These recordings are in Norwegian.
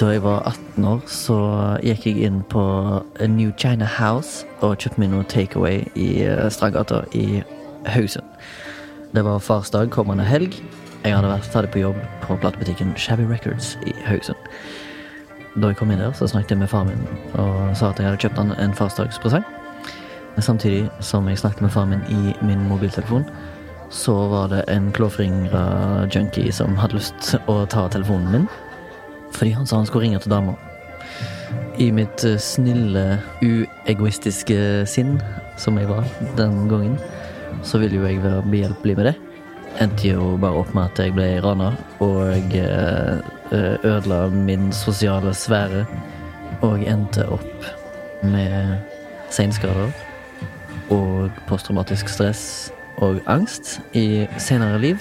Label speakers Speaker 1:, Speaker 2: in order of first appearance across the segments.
Speaker 1: Da jeg var 18 år, så gikk jeg inn på A New China House og kjøpte meg noe takeaway i eh, Strandgata i Haugesund. Det var farsdag kommende helg. Jeg hadde vært ferdig på jobb på platebutikken Shabby Records i Haugesund. Da jeg kom inn der, så snakket jeg med faren min og sa at jeg hadde kjøpt han en farsdagspresang. Samtidig som jeg snakket med faren min i min mobiltelefon, så var det en klåfingra junkie som hadde lyst til å ta telefonen min. Fordi han sa han skulle ringe til dama. I mitt eh, snille, uegoistiske sinn, som jeg var den gangen, så ville jo jeg være behjelpelig med det. Endte jo bare opp med at jeg ble rana og eh, eh, ødela min sosiale sfære. Og endte opp med seinskader og posttraumatisk stress og angst i senere liv.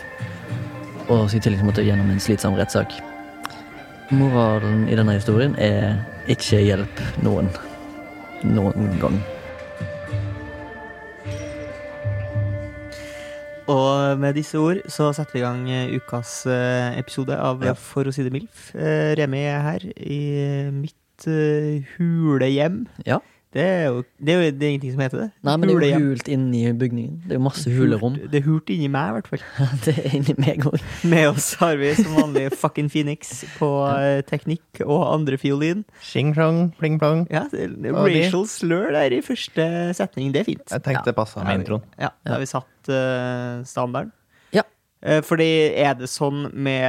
Speaker 1: Og så i tillegg måtte jeg gjennom en slitsom rettssak. Moralen i denne historien er ikke hjelp noen. Noen gang.
Speaker 2: Og med disse ord så setter vi i gang eh, ukas eh, episode av
Speaker 1: Ja.
Speaker 2: For å si det mildt. Eh, Remi er her i mitt eh, hulehjem.
Speaker 1: Ja.
Speaker 2: Det er jo, det er jo det er ingenting som heter det.
Speaker 1: Nei, men det er jo
Speaker 2: Hulehjem.
Speaker 1: hult inni bygningen. Det er jo masse hulerom.
Speaker 2: Hult- Det er hult inni meg, i hvert fall.
Speaker 1: Det er inni meg òg.
Speaker 2: Med oss har vi som vanlig fucking Phoenix på eh, teknikk og andre fiolin.
Speaker 3: Shing-shong, pling-plong.
Speaker 2: Ja, det- det er
Speaker 3: Og vi-
Speaker 2: racial slør der i første setning. Det er fint.
Speaker 3: Jeg tenkte det passa med introen.
Speaker 2: Ja, da har vi satt uh, standarden.
Speaker 1: Ja.
Speaker 2: Eh, fordi er det sånn med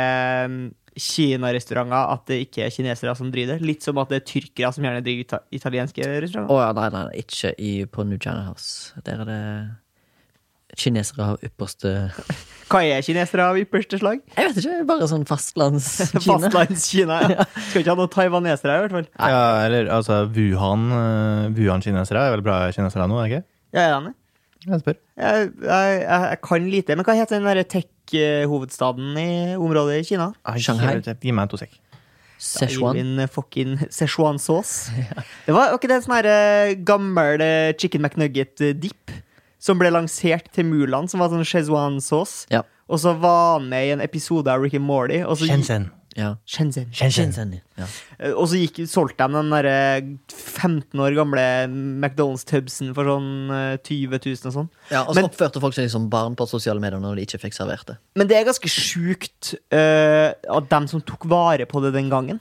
Speaker 2: mm, Kina-restauranter at det ikke er kinesere som driver det? Litt som at det er tyrkere som gjerne driver ita italienske
Speaker 1: Å
Speaker 2: restauranter?
Speaker 1: ja, nei, nei, nei, ikke i, på New China House. Der er det Kinesere har ypperste Jeg
Speaker 2: Hva er kinesere av ypperste slag?
Speaker 1: vet ikke, bare sånn fastlands-Kina.
Speaker 2: Fastlands-Kina. Ja. Skal ikke ha noen taiwanesere her, i hvert fall.
Speaker 3: Ja, eller altså Wuhan eh, Wuhan-kinesere er vel bra kinesere nå, er det ikke?
Speaker 2: Jeg er enig.
Speaker 3: Jeg spør.
Speaker 2: Jeg, jeg, jeg, jeg kan lite. Men hva heter den derre tech-hovedstaden i området i Kina?
Speaker 1: Shanghai.
Speaker 3: Ai, Gi meg to sekk.
Speaker 1: Szechuan.
Speaker 2: Eivind fucking Szechuan-sås. Det var var ikke det en sånn her eh, gammel eh, chicken McNugget-dip som ble lansert til Mulan, som var sånn Szechuan-sås.
Speaker 1: Ja.
Speaker 2: Og så var han med i en episode av Rick and Morty.
Speaker 3: Altså,
Speaker 2: Og så,
Speaker 3: Shenzhen.
Speaker 1: ja.
Speaker 2: Shenzhen.
Speaker 3: Shenzhen.
Speaker 1: Shenzhen, Ja.
Speaker 2: Eh, Og så gikk, solgte de den derre 15 år gamle McDonald's-tubsen for sånn eh, 20 000 og sånn.
Speaker 1: ja, og så
Speaker 2: Men-
Speaker 1: oppførte folk seg som barn på sosiale medier når de ikke fikk servert det.
Speaker 2: Men det er ganske sjukt eh, at dem som tok vare på det den gangen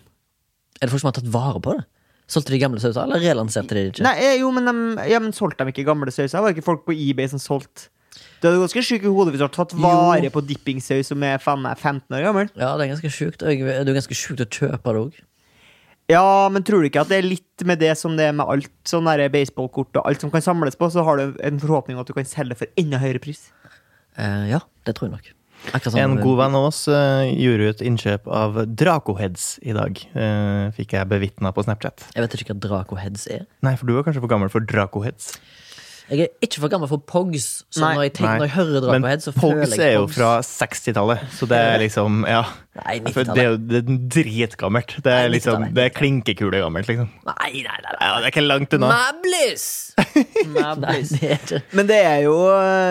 Speaker 1: Er det folk som har tatt vare på det? Solgte de gamle sauser, eller relanserte de det ikke?
Speaker 2: Nei, eh, jo, men, de, ja, men solgte de ikke gamle sauser? Var det ikke folk på eBay som solgte? Du hadde ganske syk i hodet hvis du hadde tatt vare
Speaker 1: Jo.
Speaker 2: på dippingsaus som er faen meg 15 år gammel.
Speaker 1: Ja, det er ganske sjukt. og jeg- Det er jo ganske sjukt å kjøpe det òg.
Speaker 2: Ja, men tror du ikke at det er litt med det som det er med alt sånn der baseballkort og alt som kan samles på, så har du en forhåpning om at du kan selge det for enda høyere pris?
Speaker 1: Eh, ja, det tror jeg nok. Akkurat
Speaker 3: En god venn av oss eh, gjorde et innkjøp av Dracoheads i dag. eh, fikk jeg bevitna på Snapchat.
Speaker 1: Jeg vet ikke hva Draco Heads er.
Speaker 3: Nei, for du er kanskje for gammel for Dracoheads.
Speaker 1: Jeg er ikke for gammel for Pogs, så
Speaker 2: Nei.
Speaker 1: når, jeg tenker,
Speaker 3: Nei.
Speaker 1: når jeg hører Draco
Speaker 3: Men
Speaker 1: Heads, så
Speaker 3: Pogs
Speaker 1: føler
Speaker 3: er
Speaker 1: jeg
Speaker 3: jo fra 60-tallet, så det er liksom Ja.
Speaker 1: Nei,
Speaker 3: For det
Speaker 1: 90-tallet.
Speaker 3: er jo det er dritgammelt. Det er
Speaker 1: Nei,
Speaker 3: liksom
Speaker 1: 90-tallet.
Speaker 3: Det er klinkekulegammelt, liksom.
Speaker 1: Nei, nei, nei. nei.
Speaker 3: Ja, det er ikke langt unna.
Speaker 1: Mablis! Nei, det er ikke
Speaker 2: Men det er, jo,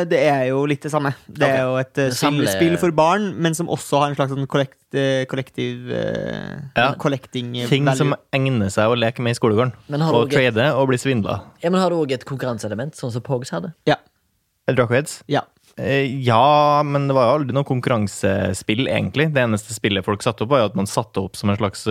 Speaker 2: det er jo litt det samme. Det
Speaker 1: Ok.
Speaker 2: er jo et eh, spill,
Speaker 1: Samle-
Speaker 2: spill for barn, men som også har en slags sånn kollekt, eh, kollektiv eh,
Speaker 3: Ja.
Speaker 2: collecting
Speaker 3: Ting
Speaker 2: value.
Speaker 3: som egner seg å leke med i skolegården.
Speaker 1: Men har
Speaker 3: Og
Speaker 1: dere-
Speaker 3: trade og bli svindla.
Speaker 1: ja, Men har du òg et konkurranseelement, sånn som Pogs hadde?
Speaker 2: Ja.
Speaker 3: Dracoheads?
Speaker 2: ja.
Speaker 3: Eh, ja, men det var jo aldri noe konkurransespill, egentlig. Det eneste spillet folk satte opp, var jo at man satte opp som en slags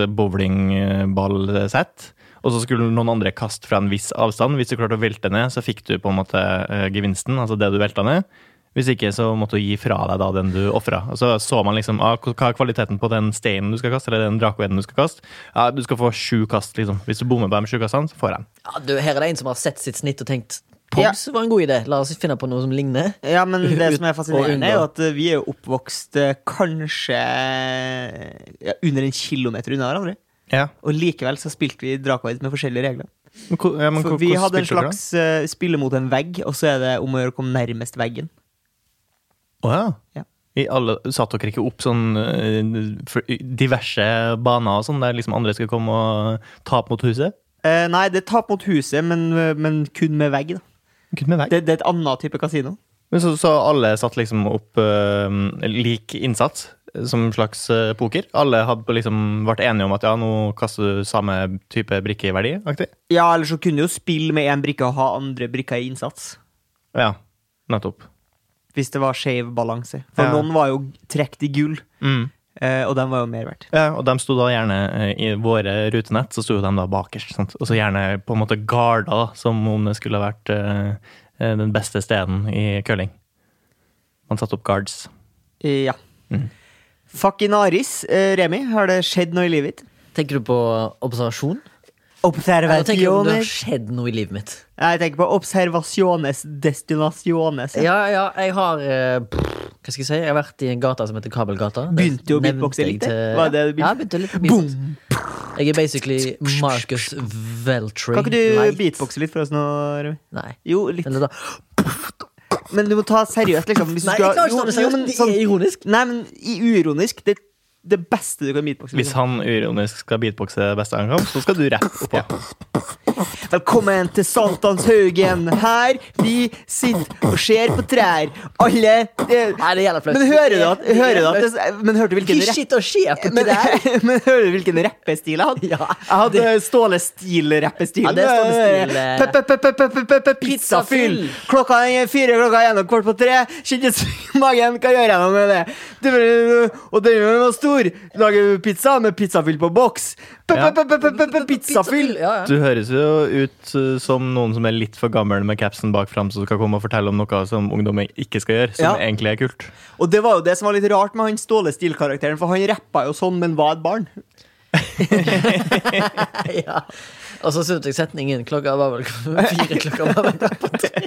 Speaker 3: bowlingballsett. Og så skulle noen andre kaste fra en viss avstand. Hvis du klarte å velte ned, så fikk du på en måte eh, gevinsten, altså det du velta ned. Hvis ikke, så måtte du gi fra deg da den du ofra. Og så så man liksom ah, hva er kvaliteten på den steinen du skal kaste, eller den drakoeden du skal kaste. Ja, du skal få sju kast, liksom. Hvis du bommer på de sju kastene, så får jeg den.
Speaker 1: Ja, du, Her er det en som har sett sitt snitt og tenkt Pogs var en god idé, la oss finne på noe som ligner.
Speaker 2: Ja, men det
Speaker 1: Ut-
Speaker 2: som er
Speaker 1: og
Speaker 2: fascinerende, er jo at eh, vi er jo oppvokst eh, kanskje ja, under en kilometer unna hverandre.
Speaker 3: Ja.
Speaker 2: Og likevel så spilte vi Dracoid med forskjellige regler.
Speaker 3: Men, hvor- ja, men
Speaker 2: For
Speaker 3: hvor-
Speaker 2: vi
Speaker 3: hvordan
Speaker 2: hadde en
Speaker 3: spilte dere
Speaker 2: slags eh, spille mot en vegg, og så er det om å gjøre å komme nærmest veggen.
Speaker 3: da? Å,
Speaker 2: Ja.
Speaker 3: ja. I alle, satt dere ikke opp sånn eh, for- diverse baner og sånn, der liksom andre skulle komme og ta opp mot huset?
Speaker 2: Eh, nei, det er tap mot huset, men, eh, men kun med vegg. Da.
Speaker 3: Kun med vei.
Speaker 2: Det, det er et annet type kasino.
Speaker 3: Men så, så alle satt liksom opp eh, lik innsats, eh, som en slags eh, poker? Alle hadde på liksom vært enige om at ja, nå kaster du samme type brikkeverdi? Aktig?
Speaker 2: Ja, eller så kunne du jo spille med én brikke og ha andre brikker i innsats.
Speaker 3: Ja, nettopp.
Speaker 2: Hvis det var skeiv balanse. For
Speaker 3: Ja.
Speaker 2: noen var jo trukket i gull,
Speaker 3: Mm.
Speaker 2: eh, og den var jo mer verdt.
Speaker 3: Ja, og de sto da gjerne eh, i våre rutenett, så sto jo de da bakerst. Sant? Og så gjerne på en måte garda, da, som om det skulle ha vært eh, eh, den beste steden i curling. Man satte opp guards.
Speaker 2: Eh, ja.
Speaker 3: Mm.
Speaker 2: Fakinaris, eh, Remi, har det skjedd noe i livet ditt?
Speaker 1: Tenker du på observasjon? Eller tenker du om det har
Speaker 2: Observasjones
Speaker 1: skjedd noe i livet mitt?
Speaker 2: Nei, jeg tenker på observasjones destinasjones.
Speaker 1: Ja, ja, jeg har eh, pff, Hva skal jeg si? Jeg har vært i en gate som heter Kabelgata. Det
Speaker 2: Begynte du å
Speaker 1: nevnte
Speaker 2: beatboxe
Speaker 1: jeg
Speaker 2: litt,
Speaker 1: til-
Speaker 2: det? Var det det du begynte?
Speaker 1: Ja, jeg begynte litt å
Speaker 2: Boom!
Speaker 1: beatboxe. Jeg er basically Marcus Veltry.
Speaker 2: Kan ikke du
Speaker 1: Light.
Speaker 2: beatboxe litt for oss nå, Remi?
Speaker 1: Nei.
Speaker 2: Jo, litt.
Speaker 1: Eller da
Speaker 2: Men du må ta seriøst, liksom. Hvis du
Speaker 1: Nei,
Speaker 2: skal-
Speaker 1: jeg klarer ikke å
Speaker 2: jo,
Speaker 1: ta det
Speaker 2: jo, men sånn-
Speaker 1: seriøst. Det er ironisk.
Speaker 2: Nei, men i- uironisk. Det det beste du kan beatboxe. Liksom.
Speaker 3: Hvis han uironisk skal beatboxe det beste han kan, så skal du rett oppå.
Speaker 2: Velkommen til Sankthanshaugen. Her vi sitter og ser på trær. Alle det,
Speaker 1: Nei, det er jævla flaut.
Speaker 2: Men hører du at, hører du at det, Men hørte du hvilken
Speaker 1: Ikke
Speaker 2: rapp
Speaker 1: shit og skje på
Speaker 2: Eh, men,
Speaker 1: trær.
Speaker 2: men hører du hvilken rappestil jeg hadde?
Speaker 1: Ja,
Speaker 2: jeg hadde Ståle Stil-rappestilen.
Speaker 1: Ja, det er Ståle Stil,
Speaker 2: Pizzafyll!
Speaker 1: Pizzafyll.
Speaker 2: Klokka den er fire, klokka er en og kvart på tre. Kjennes i magen, hva gjør jeg nå med det? Du, og den var stor. Lager pizza med pizzafyll på boks. Pe-
Speaker 3: Ja.
Speaker 2: pe- pe- pe- pe- pe- Pizzafyll!
Speaker 1: Ja, ja.
Speaker 3: Du høres jo ut eh, som noen som er litt for gammel med capsen bak fram, som skal komme og fortelle om noe som ungdommen ikke skal gjøre, som
Speaker 2: Ja.
Speaker 3: egentlig er kult.
Speaker 2: Og det var jo det som var litt rart med han Ståle Stil-karakteren, for han rappa jo sånn, men var et barn.
Speaker 1: ja. Og så syntes jeg setningen klokka var vel fire. klokka var vel kvart på tre.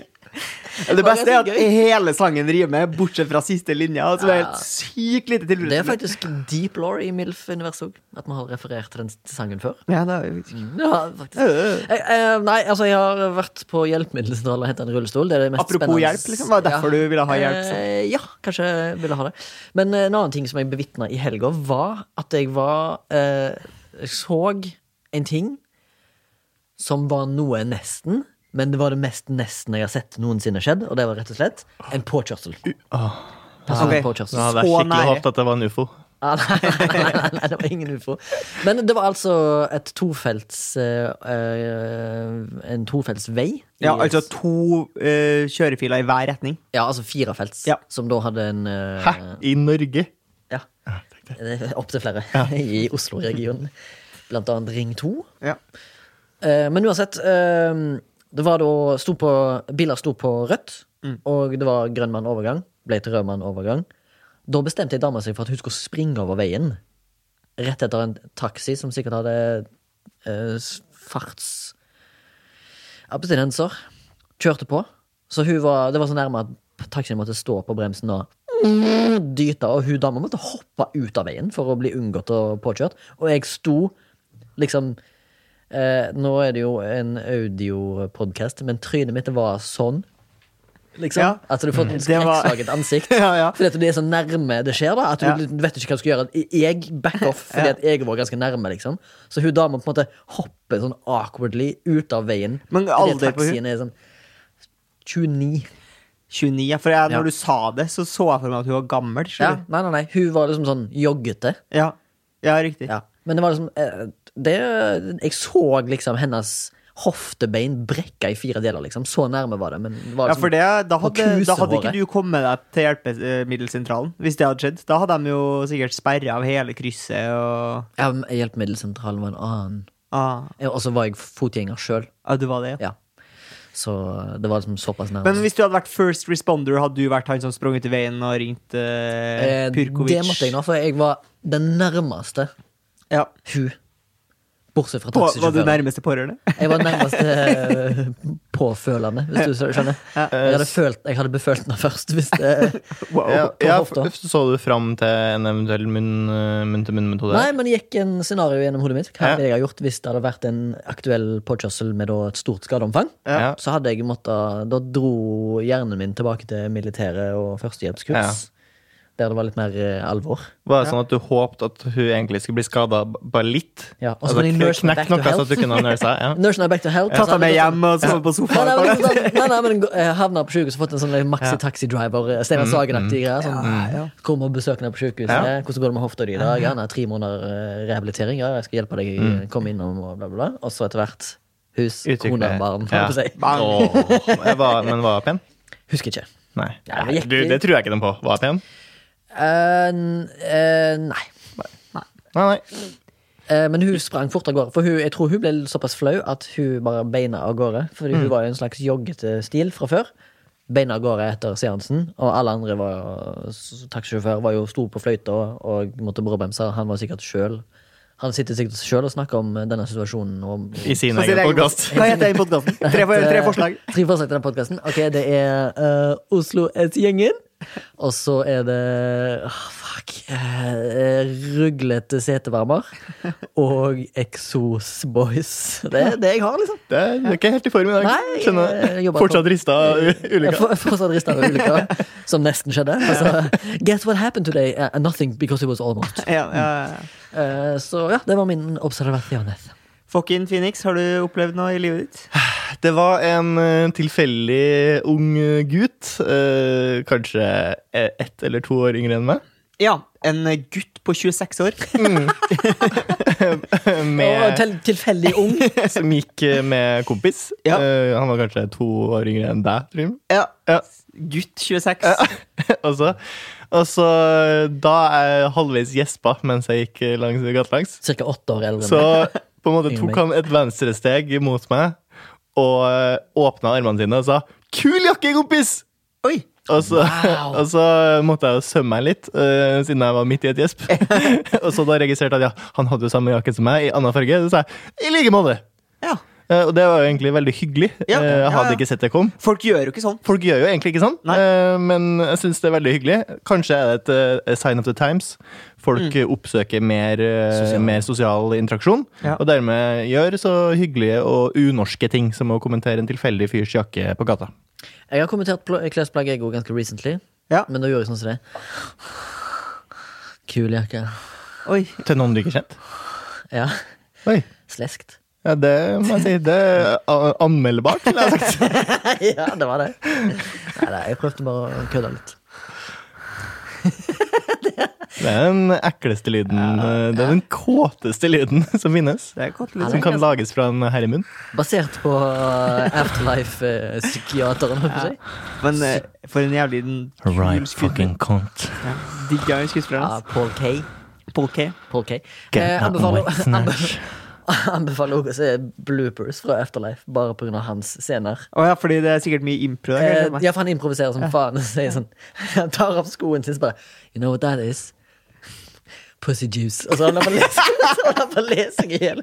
Speaker 2: Det
Speaker 1: Var
Speaker 2: beste
Speaker 1: det
Speaker 2: er
Speaker 1: så
Speaker 2: at
Speaker 1: gøy?
Speaker 2: hele sangen rimer, bortsett fra siste linja. Altså, det er helt sykt lite
Speaker 1: Det er
Speaker 2: tilfredsstillende.
Speaker 1: faktisk deep law i MILF-universet òg. At vi har referert til den sangen før.
Speaker 2: Ja, det er jo ikke-
Speaker 1: Ja, faktisk. Jeg, eh, nei, altså, jeg har vært på hjelpemiddelsentralen og henta en rullestol. Det er det mest
Speaker 2: Apropos
Speaker 1: spennende.
Speaker 2: hjelp, liksom. Var det derfor du ville ha hjelp, liksom? så?
Speaker 1: Eh, ja, kanskje jeg ville ha det. Men eh, en annen ting som jeg bevitna i helga, var at jeg var eh, Jeg så en ting som var noe nesten. Men det var det mest nesten jeg har sett noensinne skjedd, og det var rett og slett en påkjørsel.
Speaker 2: ah. Ok.
Speaker 1: Personpåkjørsel.
Speaker 3: Ja, det er
Speaker 2: Så
Speaker 3: skikkelig
Speaker 2: nære.
Speaker 3: håpet at det var en ufo.
Speaker 1: Ah, nei, nei, nei, nei, det var ingen ufo. Men det var altså et tofelts eh, eh, En tofelts vei.
Speaker 2: Ja,
Speaker 1: I-
Speaker 2: altså to eh, kjørefiler i hver retning.
Speaker 1: ja, altså firefelts,
Speaker 2: Ja.
Speaker 1: som da hadde en eh,
Speaker 3: Hæ? I Norge?
Speaker 1: Ja. Opptil flere i Oslo-regionen. Blant annet Ring 2.
Speaker 2: Ja.
Speaker 1: Eh, men uansett, eh, det var da sto på, Biler sto på rødt,
Speaker 2: Mm.
Speaker 1: og det var grønn mann overgang. Ble til rød mann overgang. Da bestemte ei dame seg for at hun skulle springe over veien. Rett etter en taxi som sikkert hadde eh, s- farts... Abstinenser. Kjørte på. Så hun var, det var så nærme at taxien måtte stå på bremsen og dyte, og hun dama måtte hoppe ut av veien for å bli unngått og påkjørt. Og jeg sto liksom Eh, nå er det jo en audiopodkast, men trynet mitt var sånn. Liksom.
Speaker 2: Ja. Mm.
Speaker 1: At du får et
Speaker 2: Det var-
Speaker 1: skrekkslaget ansikt.
Speaker 2: Ja, ja.
Speaker 1: Fordi at du er så nærme det skjer. da At du
Speaker 2: Ja.
Speaker 1: du vet ikke hva du skal gjøre. Jeg back off fordi at jeg var ganske nærme. liksom Så hun dama på en måte hopper sånn awkwardly ut av veien.
Speaker 2: Men
Speaker 1: Fordi
Speaker 2: alder på hun?
Speaker 1: taxien er sånn 29.
Speaker 2: 29, ja. For jeg,
Speaker 1: Ja.
Speaker 2: når du sa det, så så jeg for meg at hun var gammel.
Speaker 1: Ja,
Speaker 2: skjønner du?
Speaker 1: nei, nei, nei. Hun var liksom sånn joggete.
Speaker 2: Ja. ja, riktig.
Speaker 1: Ja. Men det var liksom eh, det, Jeg så liksom hennes hoftebein brekke i fire deler, liksom. Så nærme var det. Men det var
Speaker 2: Ja,
Speaker 1: liksom,
Speaker 2: for det, da,
Speaker 1: Og
Speaker 2: hadde, da hadde ikke
Speaker 1: kusehåret.
Speaker 2: du kommet deg til hjelpemiddelsentralen. Hvis det hadde skjedd. Da hadde de jo sikkert sperra av hele krysset og
Speaker 1: Ja, men Hjelpemiddelsentralen var en annen.
Speaker 2: ah,
Speaker 1: Ja, Og så var jeg fotgjenger sjøl.
Speaker 2: Ja, du var det, ja.
Speaker 1: Ja. Så det var liksom såpass nærme.
Speaker 2: Men hvis du hadde vært first responder, hadde du vært han som sprang ut i veien og ringt eh,
Speaker 1: Eh,
Speaker 2: Purkovic?
Speaker 1: Det måtte jeg nå, for jeg var den nærmeste
Speaker 2: Ja.
Speaker 1: hun Bortsett fra
Speaker 2: På, var du
Speaker 1: taxisjåføren.
Speaker 2: nærmeste pårørende?
Speaker 1: Jeg var nærmest eh, påfølende, hvis du skjønner. Jeg hadde, følt, jeg hadde befølt den først. Hvis det,
Speaker 2: Wow.
Speaker 3: Ja,
Speaker 1: på
Speaker 3: ja,
Speaker 1: hofta.
Speaker 3: f- så du fram til en eventuell munn- eh, munn-til-munn-metode?
Speaker 1: nei, men det gikk en scenario gjennom hodet mitt. Hva
Speaker 3: Ja.
Speaker 1: ville jeg ha gjort hvis det hadde vært en aktuell påkjørsel med da et stort skadeomfang?
Speaker 3: ja. Ja.
Speaker 1: Så hadde jeg måttet, Da dro hjernen min tilbake til militæret og førstehjelpskurs. Der det var litt mer eh, alvor.
Speaker 3: Var det sånn at du håpte at hun egentlig skulle bli skada bare litt? Altså,
Speaker 1: Ja, og så var det
Speaker 3: kn-
Speaker 1: nurse
Speaker 3: knekt
Speaker 1: back to
Speaker 3: noe så
Speaker 1: health.
Speaker 3: at du kunne ha nursa? Ja.
Speaker 1: Nursing er back to altså, health.
Speaker 2: Tatt
Speaker 1: så
Speaker 2: deg med
Speaker 1: hadde-
Speaker 2: hjem og sovet
Speaker 1: Nei,
Speaker 2: på sofaen.
Speaker 1: nei,
Speaker 2: bare.
Speaker 1: men, liksom sånn- nei, nei, men eh, havna på sjukehuset og fått en sånn eh, maxi taxi driver eh, Steinar Sagen-aktige greier. Sånn, Kom og besøk henne på sjukehuset. eh,
Speaker 3: Ja.
Speaker 1: Hvordan går det med hofta di i dag? Ja, nei, tre måneder eh, rehabilitering. Ja, jeg skal hjelpe deg. eh, Kom innom og bla, bla, bla. Og så etter hvert hus, kone, barn. holdt
Speaker 3: Ja.
Speaker 1: jeg på å si.
Speaker 2: Barn.
Speaker 3: Åh, jeg var, men var jeg pen?
Speaker 1: Husker ikke.
Speaker 3: Nei.
Speaker 1: Ja, men
Speaker 3: Nei,
Speaker 1: gikk
Speaker 3: du,
Speaker 1: det-
Speaker 3: det tror jeg ikke den på. Var jeg pen?
Speaker 1: Eh, n- eh, nei.
Speaker 3: Nei, nei.
Speaker 1: Eh, Men hun sprang fort av gårde. For hun, jeg tror hun ble såpass flau at hun bare beina av gårde. Fordi hun var jo en slags joggete stil fra før. Beina av gårde etter seansen. Og alle andre var s- taxisjåfør var jo stor på fløyta og måtte bråbremse. Han var sikkert sjøl. Han sitter sikkert sjøl og snakker om denne situasjonen. Og,
Speaker 3: I sin
Speaker 2: Så sier
Speaker 3: egen
Speaker 2: jeg-
Speaker 3: podkast.
Speaker 2: Hva heter den podkasten? Tre, tre forslag.
Speaker 1: Tre forslag til den podkasten. Ok, det er eh, Oslo S-gjengen. Og så er det åh, Fuck. eh, ruglete setevarmer. Og Exos Boys. Det er det jeg har, liksom.
Speaker 3: Det er, det er ikke helt i form i dag.
Speaker 1: Nei, jeg-
Speaker 3: Skjønner.
Speaker 1: jeg jobber
Speaker 3: Fortsatt rista av u-
Speaker 1: Jeg
Speaker 3: ulykka.
Speaker 1: får- Fortsatt rista av ulykka, som nesten skjedde. Altså, guess what happened today? Eh, nothing because it was almost.
Speaker 2: Ja, ja, ja.
Speaker 1: Eh, så ja, det var min observasjon.
Speaker 2: Fucking Phoenix, har du opplevd noe i livet ditt?
Speaker 3: Det var en eh, tilfeldig ung eh, gutt, eh, kanskje eh, ett eller to år yngre enn meg,
Speaker 2: Ja, en gutt på 26 år.
Speaker 1: Og
Speaker 3: med,
Speaker 1: Til, tilfeldig ung.
Speaker 3: som gikk eh, med kompis.
Speaker 2: Ja.
Speaker 3: Eh, han var kanskje to år yngre enn deg, Trym.
Speaker 2: Ja.
Speaker 3: Ja.
Speaker 2: Gutt 26.
Speaker 3: og, så, og så eh, da jeg halvveis gjespa mens jeg gikk eh, langs gatelangs,
Speaker 1: Cirka åtte år eldre. enn
Speaker 3: så
Speaker 1: meg.
Speaker 3: på en måte tok han et venstresteg mot meg og eh, åpna armene sine og sa 'Kul jakke, kompis!'
Speaker 2: Oi!
Speaker 3: Og så,
Speaker 1: Wow.
Speaker 3: og så måtte jeg jo sømme meg litt, eh, siden jeg var midt i et gjesp. og så da registrerte jeg at ja, han hadde jo samme jakke som meg, i annen farge. Så sa jeg 'i like måte'.
Speaker 2: Ja.
Speaker 3: Eh, og det var jo egentlig veldig hyggelig.
Speaker 2: Ja,
Speaker 3: Eh,
Speaker 2: ja,
Speaker 3: jeg hadde
Speaker 2: ja.
Speaker 3: ikke sett det kom.
Speaker 2: Folk gjør jo ikke sånn.
Speaker 3: Folk gjør jo egentlig ikke sånn,
Speaker 2: Nei.
Speaker 3: eh, men jeg syns det er veldig hyggelig. Kanskje er det et eh, sign of the times.
Speaker 2: Mm.
Speaker 3: Folk eh, oppsøker mer, eh,
Speaker 1: Sosial.
Speaker 3: mer sosial interaksjon,
Speaker 2: Ja.
Speaker 3: og dermed gjør så hyggelige og unorske ting som å kommentere en tilfeldig fyrs jakke på gata.
Speaker 1: Jeg har kommentert pl- klesplagg jeg òg ganske recently.
Speaker 2: Ja.
Speaker 1: Men da gjorde jeg sånn som det. Kul jakke.
Speaker 2: Oi.
Speaker 3: Til noen du ikke kjent.
Speaker 1: Ja.
Speaker 3: Oi.
Speaker 1: Sleskt.
Speaker 3: Ja, det må jeg si. Det er a- anmeldbart, ville jeg sagt.
Speaker 1: ja, det var det. Nei, nei, jeg prøvde bare å kødde litt.
Speaker 3: Det er den ekleste lyden. eh, Det er den kåteste lyden som finnes.
Speaker 2: Det er godt,
Speaker 1: Ja,
Speaker 2: liksom.
Speaker 3: Som kan lages fra en herremunn.
Speaker 1: Basert på eh, afterlife-psykiateren. Ja.
Speaker 2: Men eh, for en jævlig den kul skuespiller.
Speaker 3: cunt.
Speaker 2: Ja. Digga jo
Speaker 1: ja,
Speaker 2: skuespilleren hans.
Speaker 1: Ah, Paul K.
Speaker 2: Paul K.
Speaker 1: Paul K.
Speaker 3: Get
Speaker 1: Eh,
Speaker 3: that
Speaker 1: anbefaler
Speaker 3: white
Speaker 1: anbe- anbefaler også å se bloopers fra Afterlife, bare pga. hans scener.
Speaker 2: Å ja, fordi det er sikkert mye impro der.
Speaker 1: Eh,
Speaker 2: kanskje?
Speaker 1: ja, for han improviserer som faen. og Sier sånn, han tar av skoen sin og bare You know what that is? Pussy juice. Og så holder han på å lese- så holder han på å lese seg i hjel.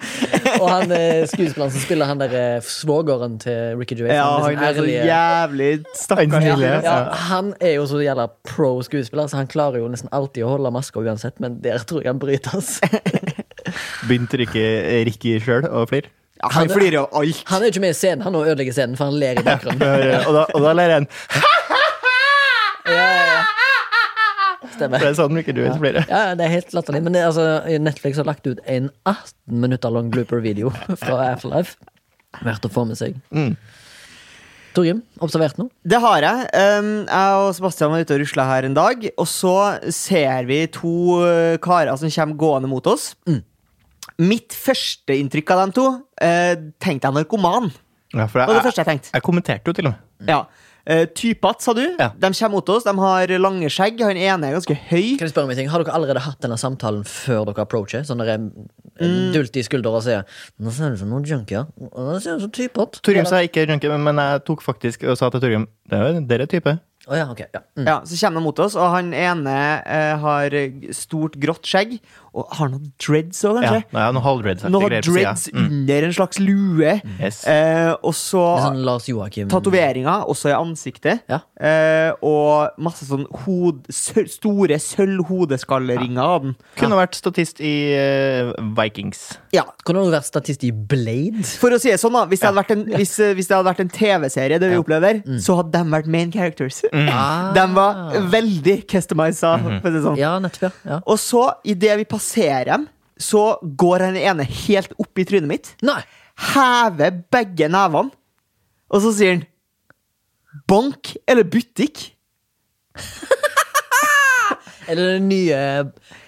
Speaker 1: Og han eh, skuespilleren som spiller han der eh, svogeren til Ricky Gervais.
Speaker 2: Ja,
Speaker 1: han
Speaker 2: han
Speaker 1: liksom
Speaker 2: er så
Speaker 1: ærlige-
Speaker 2: jævlig
Speaker 3: Han
Speaker 2: stakkars.
Speaker 3: er
Speaker 1: ja,
Speaker 3: jævlig,
Speaker 1: ja,
Speaker 3: ja.
Speaker 1: han er jo så jævla pro skuespiller, så han klarer jo nesten alltid å holde maska uansett, men der tror jeg han altså. brytes.
Speaker 3: Begynte ikke Ricky sjøl å flire?
Speaker 2: Ja, han flirer av alt.
Speaker 1: Han er jo ikke med i scenen, han nå ødelegger scenen, for han ler i bakgrunnen.
Speaker 3: Ja, og, da, og da ler jeg en.
Speaker 1: Stemmer.
Speaker 3: For det er sånn ikke du vet flere.
Speaker 1: Ja, ja, det er helt latterlig. Men det, er altså, Netflix har lagt ut en 18 minutter lang blooper-video fra Afterlife. Verdt å få med seg. Torgrim, observert noe?
Speaker 2: Det har jeg. Um, jeg og Sebastian var ute og rusla her en dag, og så ser vi to uh, karer som kommer gående mot oss.
Speaker 3: Mm.
Speaker 2: Mitt første inntrykk av dem to uh, tenkte jeg narkoman.
Speaker 3: Ja, for
Speaker 2: Det var det første jeg tenkte.
Speaker 3: jeg kommenterte jo til og med.
Speaker 2: Ja. Uh, Typat, sa du.
Speaker 3: Mm. Ja.
Speaker 2: De kommer mot oss. De har lange skjegg. Han ene er ganske høy.
Speaker 1: Kan jeg spørre om en ting? Har dere allerede hatt denne samtalen før dere approacher? Sånn dere mm. dulter i skulder og sier 'Nå ser du ut som noen junkier'. «Å, Nå ser du ut som typot.
Speaker 3: Torgrim sa ikke junkie, men- men jeg tok faktisk og sa til Torgrim Det er jo dere type.
Speaker 1: Å ja, ok. Ja. Mm.
Speaker 2: Ja, Så kommer de mot oss, og han ene eh, har stort, grått skjegg og har noen dreads òg,
Speaker 3: Ja,
Speaker 2: kanskje.
Speaker 3: det er noe halvdreadsaktig
Speaker 2: Noen
Speaker 3: greier på siden. Mm.
Speaker 2: dreads under en slags lue.
Speaker 3: Yes.
Speaker 2: Eh, og så
Speaker 1: Litt Sånn Lars Joakim.
Speaker 2: tatoveringer, også i ansiktet.
Speaker 1: Ja.
Speaker 2: Eh, og masse sånn hod, sø, store sølvhodeskalleringer av den.
Speaker 3: Kunne vært statist i eh, Vikings.
Speaker 2: Ja.
Speaker 1: Kunne du vært statist i Blade?
Speaker 2: For å si det sånn, da. Hvis det hadde vært en, hvis, eh, hvis det hadde vært en TV-serie, det vi opplever,
Speaker 1: Mm.
Speaker 2: så hadde de vært main characters.
Speaker 1: Ah.
Speaker 2: De var veldig customiza. for å si det sånn.
Speaker 1: Mhm. Ja, nettopp, ja. ja.
Speaker 2: Og så, idet vi passerer dem, så går han ene helt opp i trynet mitt,
Speaker 1: Nei!
Speaker 2: hever begge nevene, og så sier han Bank eller butikk?
Speaker 1: Er det den nye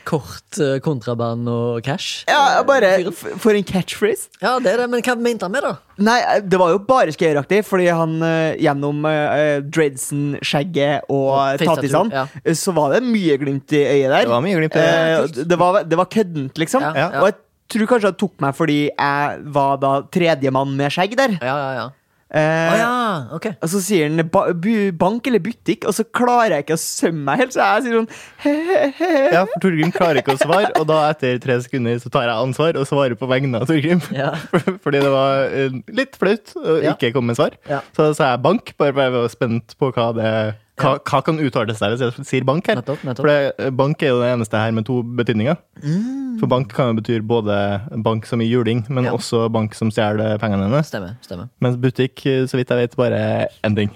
Speaker 1: kort, eh, kontraband og cash?
Speaker 2: Ja, jeg bare, f- For en catchphrase.
Speaker 1: Ja, det er det, men hva mente han med, da?
Speaker 2: Nei, eh, det var jo bare skøyeraktig, fordi han eh, gjennom eh, eh, dreadsen, skjegget og
Speaker 1: Og face-tattoo,
Speaker 2: tattisene,
Speaker 1: ja.
Speaker 2: eh, så var det mye glimt i øyet der.
Speaker 3: Det var mye glimt i
Speaker 2: Eh,
Speaker 3: øyet.
Speaker 2: d- det var, det var køddent, liksom.
Speaker 1: Ja, ja.
Speaker 2: Og jeg tror kanskje han tok meg fordi jeg var da tredjemann med skjegg der.
Speaker 1: Ja, ja, ja. Å
Speaker 2: Eh,
Speaker 1: ja, ok.
Speaker 2: Og så sier han ba bu bank eller butikk, og så klarer jeg ikke å sømme meg helt, så jeg sier sånn he-he-he.
Speaker 3: Ja, for Torgrim klarer ikke å svare, og da etter tre sekunder så tar jeg ansvar og svarer på vegne av Torgrim.
Speaker 1: Ja.
Speaker 3: Fordi det var eh, litt flaut å
Speaker 1: Ja.
Speaker 3: ikke komme med svar.
Speaker 1: Ja.
Speaker 3: Så da sa jeg bank, bare for jeg var spent på hva det hva, hva kan uttale seg hvis jeg sier bank her?
Speaker 1: Nettopp, nettopp.
Speaker 3: For det, eh, bank er jo det eneste her med to betydninger. For bank kan jo bety både bank som i juling, men
Speaker 1: Mm. Ja.
Speaker 3: også bank som stjeler pengene hennes.
Speaker 1: Stemmer. stemmer.
Speaker 3: Mens butikk, eh, så vidt jeg vet, bare er en ting.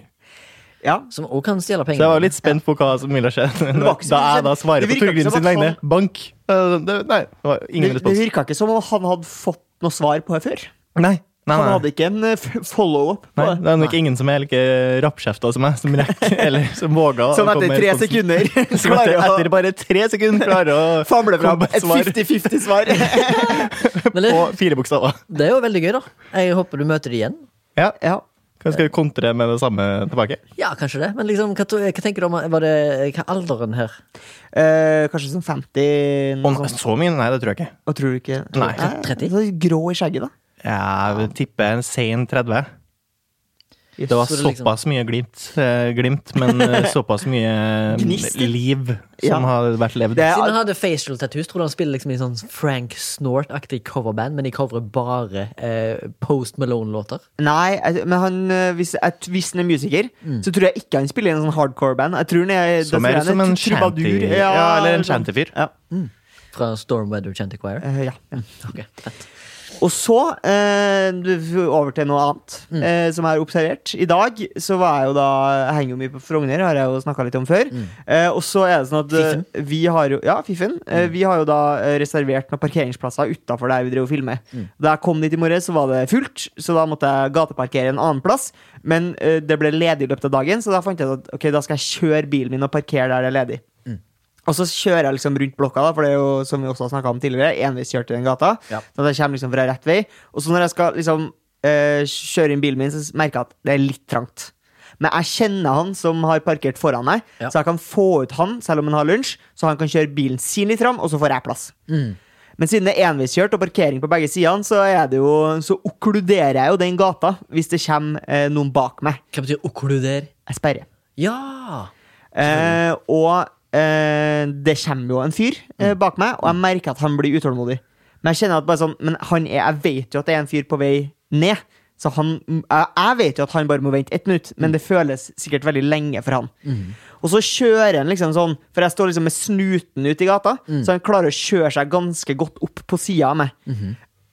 Speaker 2: Ja.
Speaker 1: Som også kan stjele penger.
Speaker 3: Så jeg var litt spent på hva som ville skje
Speaker 2: var ikke så
Speaker 3: da
Speaker 2: mye
Speaker 3: jeg da
Speaker 2: skjedd.
Speaker 3: svarer
Speaker 2: Det
Speaker 3: på
Speaker 2: virker ikke
Speaker 3: Torgrim
Speaker 2: som
Speaker 3: sin
Speaker 2: at
Speaker 3: vegne.
Speaker 2: han-
Speaker 3: Bank! Eh, Det, nei, det var
Speaker 2: Det,
Speaker 3: ingen
Speaker 2: det
Speaker 3: respons.
Speaker 2: virka ikke som om han hadde fått noe svar på det før.
Speaker 3: Nei. Nei,
Speaker 2: Han
Speaker 3: nei.
Speaker 2: hadde ikke en eh, f- follow-up på
Speaker 3: nei,
Speaker 2: det.
Speaker 3: det er nok ingen som er like rappkjefta som meg, som rekker eller som våger. å
Speaker 2: Sånn
Speaker 3: komme
Speaker 2: etter
Speaker 3: med
Speaker 2: tre
Speaker 3: responsen.
Speaker 2: sekunder
Speaker 3: Som etter,
Speaker 2: klarer å
Speaker 3: etter bare tre sekunder klarer å
Speaker 2: famle
Speaker 3: komme
Speaker 2: fram
Speaker 3: med et
Speaker 2: et
Speaker 3: svar
Speaker 2: 50-50-svar.
Speaker 1: Men det,
Speaker 3: på fire bokstaver.
Speaker 1: det er jo veldig gøy, da. Jeg håper du møter dem igjen.
Speaker 3: Ja,
Speaker 2: ja.
Speaker 3: Kanskje skal vi kontre med det samme tilbake?
Speaker 1: Ja, kanskje det. Men liksom, hva, to- hva tenker du om Var det hva er alderen her?
Speaker 2: Eh, kanskje sånn 50
Speaker 3: Om,
Speaker 2: noe sånt.
Speaker 3: så mye? Nei, det tror jeg ikke.
Speaker 2: Og tror du ikke Eh,
Speaker 1: 30?
Speaker 3: Nei.
Speaker 2: Så grå i skjegget, da.
Speaker 3: Jeg vil tippe en sein 30.
Speaker 2: Yes.
Speaker 3: Det var
Speaker 1: Så det liksom-
Speaker 3: såpass mye glimt, eh, glimt men eh, såpass mye eh,
Speaker 2: Gnist.
Speaker 3: liv
Speaker 2: Ja.
Speaker 3: som har vært levd.
Speaker 2: Det er-
Speaker 1: Siden han hadde facial tattoos, tror du han spiller liksom i sånn Frank Snort-aktig coverband, men de coverer bare eh, Post Malone-låter?
Speaker 2: Nei, jeg- men han, eh, hvis, jeg- hvis han er musiker, så tror jeg ikke han spiller i en sånn hardcore-band. Jeg tror han er
Speaker 3: Som
Speaker 2: da tror
Speaker 3: er
Speaker 2: jeg han
Speaker 3: Mm. som en
Speaker 2: tr- trubadur.
Speaker 3: shanty ja, Eller en shantyfyr.
Speaker 2: Ja.
Speaker 1: Fra Storm Weather Chanty Choir?
Speaker 2: Eh, ja. ja.
Speaker 1: Ok, fett.
Speaker 2: Og så, eh, du- over til noe annet eh, som jeg har observert. I dag så var jeg jo da Jeg henger jo mye på Frogner, har jeg jo snakka litt om før. Eh, og så er det sånn at eh, vi har jo Ja, Fiffen. Eh, vi har jo da eh, reservert noen parkeringsplasser utafor der vi drev og filmer. Da jeg kom dit i morges, så var det fullt, så da måtte jeg gateparkere en annen plass. Men eh, det ble ledig i løpet av dagen, så da fant jeg ut at ok, da skal jeg kjøre bilen min og parkere der det er ledig. Og så kjører jeg liksom rundt blokka, da, for det er jo som vi også har snakket om tidligere, enveiskjørt i den gata.
Speaker 1: Ja.
Speaker 2: Så jeg kommer liksom fra rett vei. Og så når jeg skal liksom eh, kjøre inn bilen min, så merker jeg at det er litt trangt. Men jeg kjenner han som har parkert foran meg,
Speaker 1: Ja.
Speaker 2: så jeg kan få ut han selv om han har lunsj, så han kan kjøre bilen sin litt fram, og så får jeg plass.
Speaker 1: Mm.
Speaker 2: Men siden det er enveiskjørt og parkering på begge sidene, så, er det jo, så okkluderer jeg jo den gata hvis det kommer eh, noen bak meg.
Speaker 1: Hva betyr okkluder?
Speaker 2: Jeg sperrer.
Speaker 1: Ja!
Speaker 2: Eh, og eh, det kommer jo en fyr eh, bak meg, og jeg merker at han blir utålmodig. Men jeg kjenner at bare sånn, men han er, jeg vet jo at det er en fyr på vei ned. Så han, jeg jeg vet jo at han bare må vente ett minutt, men det føles sikkert veldig lenge for han. Og så kjører han liksom sånn, for jeg står liksom med snuten ute i gata, så han klarer å kjøre seg ganske godt opp på sida av meg.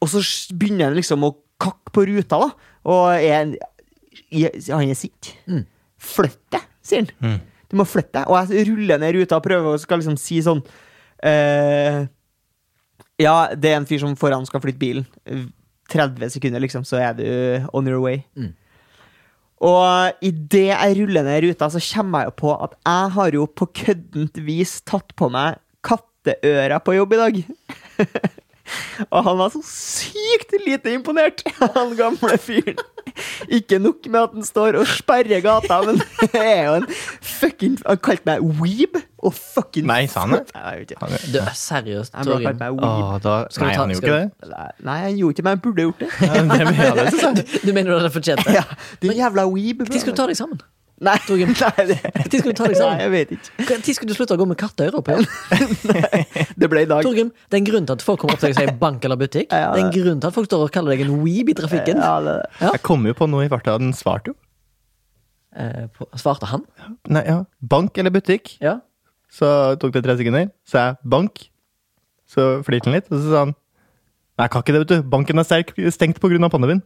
Speaker 2: Og så s- begynner han liksom å kakke på ruta, da. Og er, en- i- han er sint. Flytt deg, sier han. Du må flytte deg. Og jeg ruller ned ruta og prøver å skal liksom si sånn eh, Ja, det er en fyr som foran skal flytte bilen. 30 sekunder, liksom, så er du on your way.
Speaker 3: Mm.
Speaker 2: Og idet jeg ruller ned ruta, så kommer jeg jo på at jeg har jo på køddent vis tatt på meg katteører på jobb i dag. Og han var så sykt lite imponert, han gamle fyren. Ikke nok med at han står og sperrer gata, men det er jo en fucking Han kalte meg weeb og fucking
Speaker 3: Nei, sa han det?
Speaker 2: Nei, jeg vet ikke.
Speaker 3: Han-
Speaker 1: Du, seriøst,
Speaker 2: Han bare
Speaker 1: Torgrim.
Speaker 2: kalte meg weeb.
Speaker 3: Åh, da,
Speaker 1: Skal vi
Speaker 3: nei,
Speaker 1: ta-
Speaker 3: han gjorde
Speaker 1: skal
Speaker 3: ikke det.
Speaker 2: Nei, han gjorde ikke det, men han burde gjort det.
Speaker 3: Ja, det mener jeg, det synes jeg.
Speaker 1: Du mener du hadde fortjent det?
Speaker 2: Ja, Din jævla weeb.
Speaker 1: De skulle ta deg sammen.
Speaker 2: Nei,
Speaker 1: Torgrim.
Speaker 2: nei, det,
Speaker 1: Når skulle du ta deg
Speaker 2: nei,
Speaker 1: sammen?
Speaker 2: jeg vet ikke.
Speaker 1: Hva- Når skulle du slutte å gå med katteører på? Ja?
Speaker 2: Det ble i dag.
Speaker 1: Torgrim, det er en grunn til at folk kommer opp til deg og sier bank eller butikk. Det
Speaker 2: Ja,
Speaker 1: er en grunn til at folk står og kaller deg en weeb i trafikken.
Speaker 2: Ja, det,
Speaker 1: Ja.
Speaker 3: Jeg kom jo på noe i farta. Den svarte jo.
Speaker 1: Eh, på- Svarte han?
Speaker 3: Nei, ja. Bank eller butikk?
Speaker 1: Ja.
Speaker 3: Så tok det tre sekunder. Sa jeg bank. Så flirte han litt, og så sa han Nei, jeg kan ikke det, vet du. Banken er sterk, stengt pga. pandemien.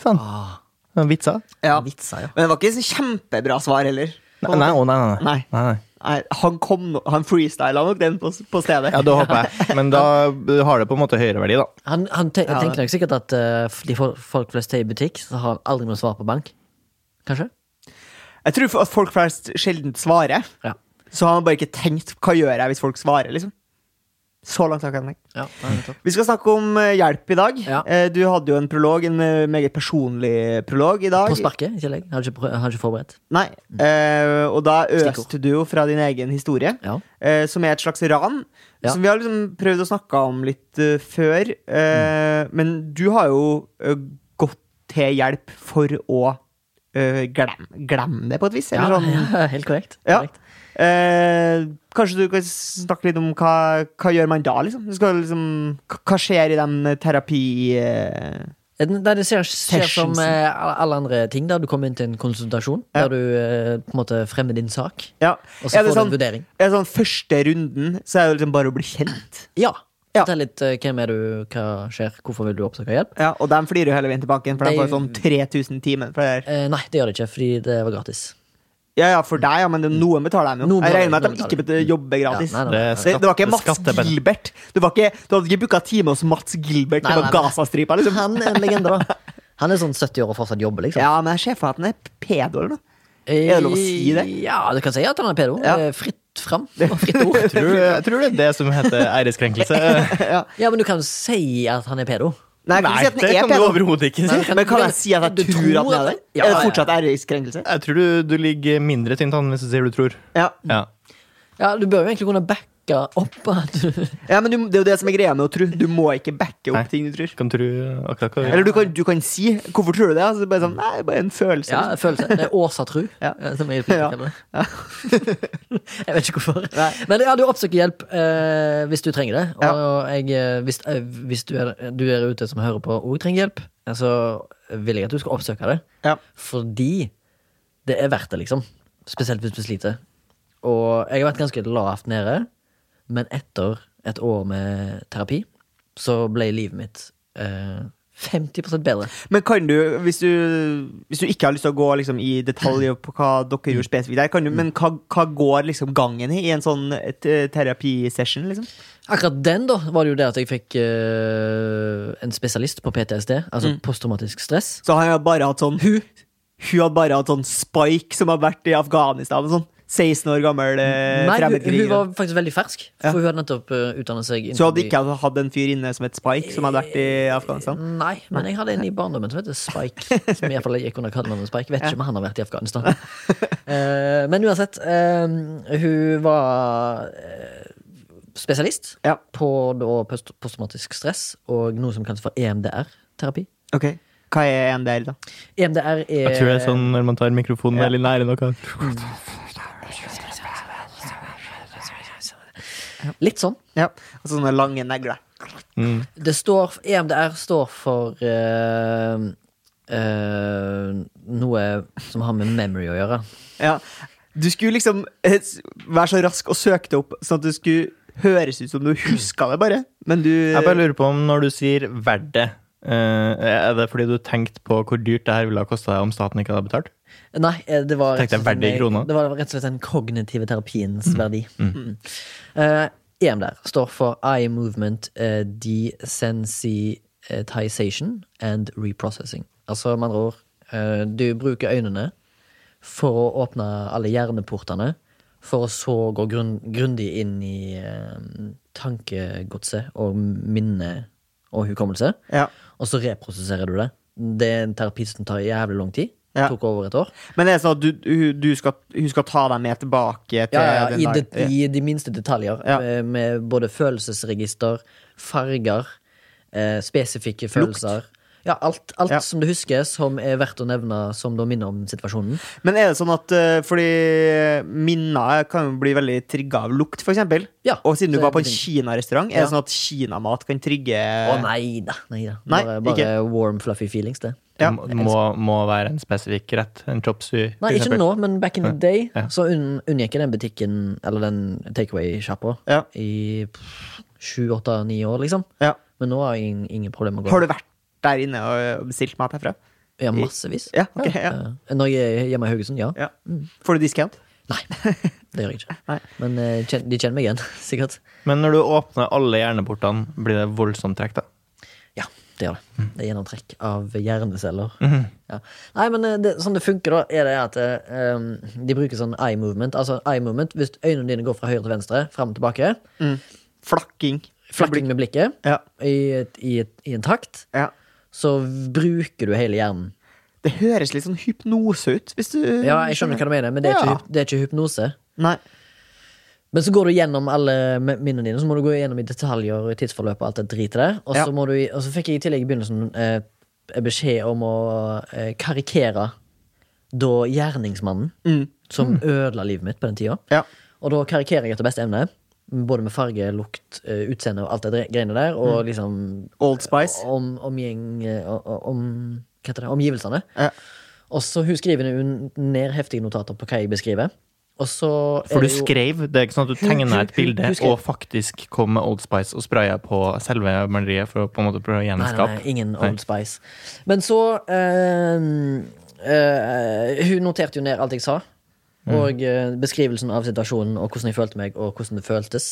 Speaker 3: Sa han.
Speaker 1: Ah,
Speaker 3: Han vitsa.
Speaker 2: ja.
Speaker 1: Vitser, ja.
Speaker 2: Men det var ikke så kjempebra svar heller.
Speaker 3: Nei, nei, å, nei, nei, nei.
Speaker 2: Nei.
Speaker 3: nei, nei.
Speaker 2: Nei, han kom, no- han freestyla nok den på, på stedet.
Speaker 3: Ja, det håper jeg. Men da har det på en måte høyere verdi, da.
Speaker 1: Han, han te
Speaker 2: Ja.
Speaker 1: tenkte nok sikkert at eh, de fol- folk flest er i butikk, så har han aldri noe svar på bank. Kanskje?
Speaker 2: Jeg tror at folk flest sjelden svarer.
Speaker 1: Ja.
Speaker 2: Så har han bare ikke tenkt hva gjør jeg hvis folk svarer, liksom. Så langt har jeg ikke tenkt.
Speaker 1: ja det er nettopp.
Speaker 2: Vi skal snakke om eh, hjelp i dag.
Speaker 1: Ja.
Speaker 2: Eh, Du hadde jo en prolog, en eh, meget personlig prolog i dag.
Speaker 1: På sparket, i tillegg. Har ikke, prø- har ikke forberedt.
Speaker 2: Nei. Eh, og da
Speaker 1: Mm. Stikkord.
Speaker 2: øste du jo fra din egen historie,
Speaker 1: Ja.
Speaker 2: eh, som er et slags ran.
Speaker 1: Ja.
Speaker 2: Som vi har liksom prøvd å snakke om litt eh, før. Eh,
Speaker 1: Mm.
Speaker 2: Men du har jo eh, gått til hjelp for å eh, glem, glemme det, på et vis.
Speaker 1: Ja,
Speaker 2: Eller sånn.
Speaker 1: ja, helt korrekt.
Speaker 2: Ja.
Speaker 1: korrekt.
Speaker 2: Eh, kanskje du kan snakke litt om hva, hva gjør man da, liksom? Du skal liksom hva- hva skjer i den terapi... Eh,
Speaker 1: Nei, det ser, ser som
Speaker 2: Sessions.
Speaker 1: eh, alle andre ting, der du kommer inn til en konsultasjon,
Speaker 2: Ja.
Speaker 1: der du eh, på en måte fremmer din sak,
Speaker 2: ja.
Speaker 1: og så
Speaker 2: er
Speaker 1: får du
Speaker 2: det
Speaker 1: en
Speaker 2: sånn,
Speaker 1: vurdering.
Speaker 2: er det sånn første runden, så er det liksom bare å bli kjent.
Speaker 1: Ja.
Speaker 2: Ja.
Speaker 1: Fortell litt eh, hvem er du, hva skjer, hvorfor vil du oppsøke hjelp?
Speaker 2: Ja, og de flirer jo hele veien til banken, for de
Speaker 1: Nei.
Speaker 2: får sånn 3000 timer. For det her.
Speaker 1: Eh, nei, det gjør det ikke, fordi det var gratis.
Speaker 2: ja, ja, for deg, ja, men det, noen betaler dem jo.
Speaker 1: Noen
Speaker 2: Jeg regner med
Speaker 1: betaler-
Speaker 2: at de
Speaker 1: noen
Speaker 2: ikke bet- jobber gratis.
Speaker 1: Ja, nei, nei,
Speaker 3: Det
Speaker 1: nei,
Speaker 3: er
Speaker 1: nei.
Speaker 2: det, det var ikke
Speaker 3: Skatte-
Speaker 2: Mats
Speaker 3: skatteben-
Speaker 2: Gilbert. Du, var ikke, du hadde ikke booka time hos Mats Gilbert
Speaker 1: Nei,
Speaker 2: på
Speaker 1: nei, nei.
Speaker 2: Gazastripa, liksom.
Speaker 1: Han er en legende, da. Han er sånn 70 år og fortsatt jobber, liksom.
Speaker 2: Ja, men jeg ser for meg at han er pedo eller noe. Er det lov å si det?
Speaker 1: Eh, Ja, du kan si at han er pedo.
Speaker 2: Ja.
Speaker 1: Eh, Fritt fram. og Fritt ord.
Speaker 3: Tror, jeg tror det er det som heter æreskrenkelse.
Speaker 1: Ja, men du kan si at han er pedo.
Speaker 2: Nei, jeg kan ikke si at
Speaker 3: det
Speaker 2: han er
Speaker 3: kan du
Speaker 2: pedo.
Speaker 3: overhodet ikke si.
Speaker 1: Nei.
Speaker 2: Men kan jeg si at
Speaker 1: Du
Speaker 2: jeg tror at han er det?
Speaker 1: Ja,
Speaker 2: Er
Speaker 1: ja,
Speaker 2: det
Speaker 1: ja.
Speaker 2: fortsatt æreskrenkelse?
Speaker 3: Jeg tror du, du ligger mindre tynt an hvis du sier du tror.
Speaker 2: Ja.
Speaker 3: Ja.
Speaker 1: Ja, du bør jo egentlig kunne backe opp at du
Speaker 2: ja, men du, det er jo det som er greia med å tro. Du må ikke backe
Speaker 3: Nei.
Speaker 2: opp ting du tror.
Speaker 3: Kan tro akkurat hva
Speaker 2: Eller du kan, du kan si 'hvorfor tror du det?' Altså, bare sånn, nei, bare en følelse.
Speaker 1: Ja, følelse. Det er Åsa Tru.
Speaker 2: Ja.
Speaker 1: eh, Som jeg,
Speaker 2: Ja.
Speaker 1: kaller det. jeg vet ikke hvorfor.
Speaker 2: Nei.
Speaker 1: Men ja, du oppsøker hjelp eh, hvis du trenger det. Og jeg, eh, hvis, eh, hvis du er du er ute som hører på og trenger hjelp, eh, så vil jeg at du skal oppsøke det.
Speaker 2: Ja.
Speaker 1: Fordi det er verdt det, liksom. Spesielt hvis du sliter. Og jeg har vært ganske lavt nede, men etter et år med terapi så ble livet mitt eh, 50 bedre.
Speaker 2: Men kan du, hvis du, hvis du ikke har lyst til å gå liksom, i detalj på hva dere gjorde spesifikt der, kan du, men hva, hva går liksom gangen i i en sånn et, eh, terapisession, liksom?
Speaker 1: Akkurat den, da, var det jo det at jeg fikk eh, en spesialist på PTSD, altså posttraumatisk stress.
Speaker 2: Så han har bare hatt sånn Hun, hun hadde bare hatt sånn Spike som har vært i Afghanistan, og sånn 16 år gammel eh,
Speaker 1: Nei, hun, hun
Speaker 2: fremmedkriger.
Speaker 1: var faktisk veldig fersk, for hun hadde nettopp uh, utdannet seg
Speaker 2: Så hadde
Speaker 1: innenfor-
Speaker 2: ikke jeg hatt en fyr inne som het Spike, som hadde vært i Afghanistan?
Speaker 1: Nei, men jeg hadde en i barndommen som heter Spike. Som i hvert fall gikk under kallenavnet Spike. Vet ikke om han har vært i Afghanistan. Eh, men uansett, eh, hun var eh, spesialist
Speaker 2: Ja.
Speaker 1: på da post- posttraumatisk stress og noe som kalles for E EMDR-terapi.
Speaker 2: Ok. Hva er en del, da?
Speaker 1: EMDR er
Speaker 3: Jeg tror det er sånn når man tar mikrofonen veldig nære noe.
Speaker 1: Litt sånn.
Speaker 2: Ja. Altså sånne lange negler.
Speaker 3: Mm.
Speaker 1: Det står E EMDR står for eh, eh, noe som har med memory å gjøre.
Speaker 2: Ja. Du skulle liksom eh, s- være så rask og søke det opp, sånn at det skulle høres ut som du huska det, bare. Men du
Speaker 3: Jeg bare lurer på om når du sier 'verdt det', eh, er det fordi du tenkte på hvor dyrt det her ville ha kosta om staten ikke hadde betalt?
Speaker 1: Nei, eh, det var, rett
Speaker 3: Tenkte jeg
Speaker 1: og slett
Speaker 3: verdi i
Speaker 1: en-
Speaker 3: kroner.
Speaker 1: det var rett og slett den kognitive terapiens verdi. Mm. Eh, EMDR står for Eye Movement eh, Desensitization and Reprocessing. Altså med andre ord, eh, du bruker øynene for å åpne alle hjerneportene, for å så gå grunn, grundig inn i eh, tankegodset og minne og hukommelse.
Speaker 2: Ja.
Speaker 1: Og så reprosesserer du det. Det er en terapi som tar jævlig lang tid.
Speaker 2: Ja.
Speaker 1: Tok over et år.
Speaker 2: Men det er sånn at du, hun- du skal, hun skal ta deg med tilbake til
Speaker 1: Ja, ja, ja,
Speaker 2: den
Speaker 1: Eh, i,
Speaker 2: dagen.
Speaker 1: det, I de minste detaljer.
Speaker 2: Ja.
Speaker 1: Med, med både følelsesregister, farger, eh, spesifikke følelser, lukt. Ja, alt, alt
Speaker 2: Ja.
Speaker 1: som du husker som er verdt å nevne som da minner om situasjonen.
Speaker 2: Men er det sånn at eh, Fordi minner kan jo bli veldig trigga av lukt, for eksempel.
Speaker 1: Ja,
Speaker 2: og siden du
Speaker 1: så
Speaker 2: var på
Speaker 1: jeg
Speaker 2: en
Speaker 1: tenker-
Speaker 2: kinarestaurant, er
Speaker 1: Ja.
Speaker 2: det sånn at kinamat kan trigge
Speaker 1: Å nei da. Nei, da.
Speaker 2: Eh. Nei,
Speaker 1: Bare, bare
Speaker 2: ikke.
Speaker 1: warm, fluffy feelings, det.
Speaker 2: Ja,
Speaker 3: Det må, må være en spesifikk rett. En chop suey. for
Speaker 1: Nei, ikke
Speaker 3: eksempel.
Speaker 1: nå, men back in the day
Speaker 3: Ja.
Speaker 1: så unn, unngikk jeg den butikken, eller den takeaway-sjappa,
Speaker 2: Ja.
Speaker 1: i sju, åtte, ni år, liksom.
Speaker 2: Ja.
Speaker 1: Men nå har jeg ingen, ingen problemer med å
Speaker 2: Har
Speaker 1: gå.
Speaker 2: du vært der inne og bestilt mat herfra?
Speaker 1: Ja, massevis.
Speaker 2: Ja, ok, ja.
Speaker 1: Eh, Når jeg er hjemme i Haugesund, ja.
Speaker 2: Ja. Får du discount?
Speaker 1: Nei, det gjør jeg ikke.
Speaker 2: Nei.
Speaker 1: Men eh, kjen- de kjenner meg igjen, sikkert.
Speaker 3: Men når du åpner alle hjerneportene, blir det voldsomt trekk, da.
Speaker 1: Ja, det gjør det.
Speaker 2: Mm.
Speaker 1: Det er gjennomtrekk av hjerneceller.
Speaker 2: Mhm.
Speaker 1: ja. Nei, men eh, det, sånn det funker, da, er det at eh, um, de bruker sånn eye movement. Altså eye movement, Hvis øynene dine går fra høyre til venstre, fram og tilbake,
Speaker 2: Flakking.
Speaker 1: Mm. flakking med blikket
Speaker 2: Ja.
Speaker 1: i, et, i, et, i en takt,
Speaker 2: ja.
Speaker 1: så bruker du hele hjernen.
Speaker 2: Det høres litt sånn hypnose ut, hvis du
Speaker 1: Ja, jeg skjønner hva du mener, men det er ikke,
Speaker 2: Ja.
Speaker 1: hyp- det er ikke hypnose.
Speaker 2: Nei.
Speaker 1: Men så går du gjennom alle me- minnene dine, så må du gå gjennom i detaljer og i tidsforløp og alt det dritet der. Og så,
Speaker 2: Ja.
Speaker 1: må du, i- og så fikk jeg i tillegg i begynnelsen eh, beskjed om å eh, karikere da gjerningsmannen, som ødela livet mitt på den tida.
Speaker 2: Ja.
Speaker 1: Og da karikerer jeg etter beste evne. Både med farge, lukt, eh, utseende og alt det dre- greiene der. Og liksom
Speaker 2: Old Spice.
Speaker 1: om, omgjeng, eh, o- om, hva heter det, omgivelsene.
Speaker 2: Ja.
Speaker 1: Og så hun skriver hun ned heftige notater på hva jeg beskriver. Og så er
Speaker 3: For du
Speaker 1: det Eh, jo-
Speaker 3: skrev. Det er ikke sånn at du
Speaker 1: Hun- hun-
Speaker 3: tegna et
Speaker 1: hun-
Speaker 3: bilde
Speaker 1: hun skrev.
Speaker 3: og faktisk kom med Old Spice og spraya på selve maleriet for å på en måte prøve å
Speaker 1: Nei, nei,
Speaker 3: gjenskape.
Speaker 1: nei, ingen
Speaker 3: Nei.
Speaker 1: Old Spice. Men så eh, eh, Hun noterte jo ned alt jeg sa.
Speaker 3: Mm.
Speaker 1: Og eh, beskrivelsen av situasjonen og hvordan jeg følte meg, og hvordan det føltes.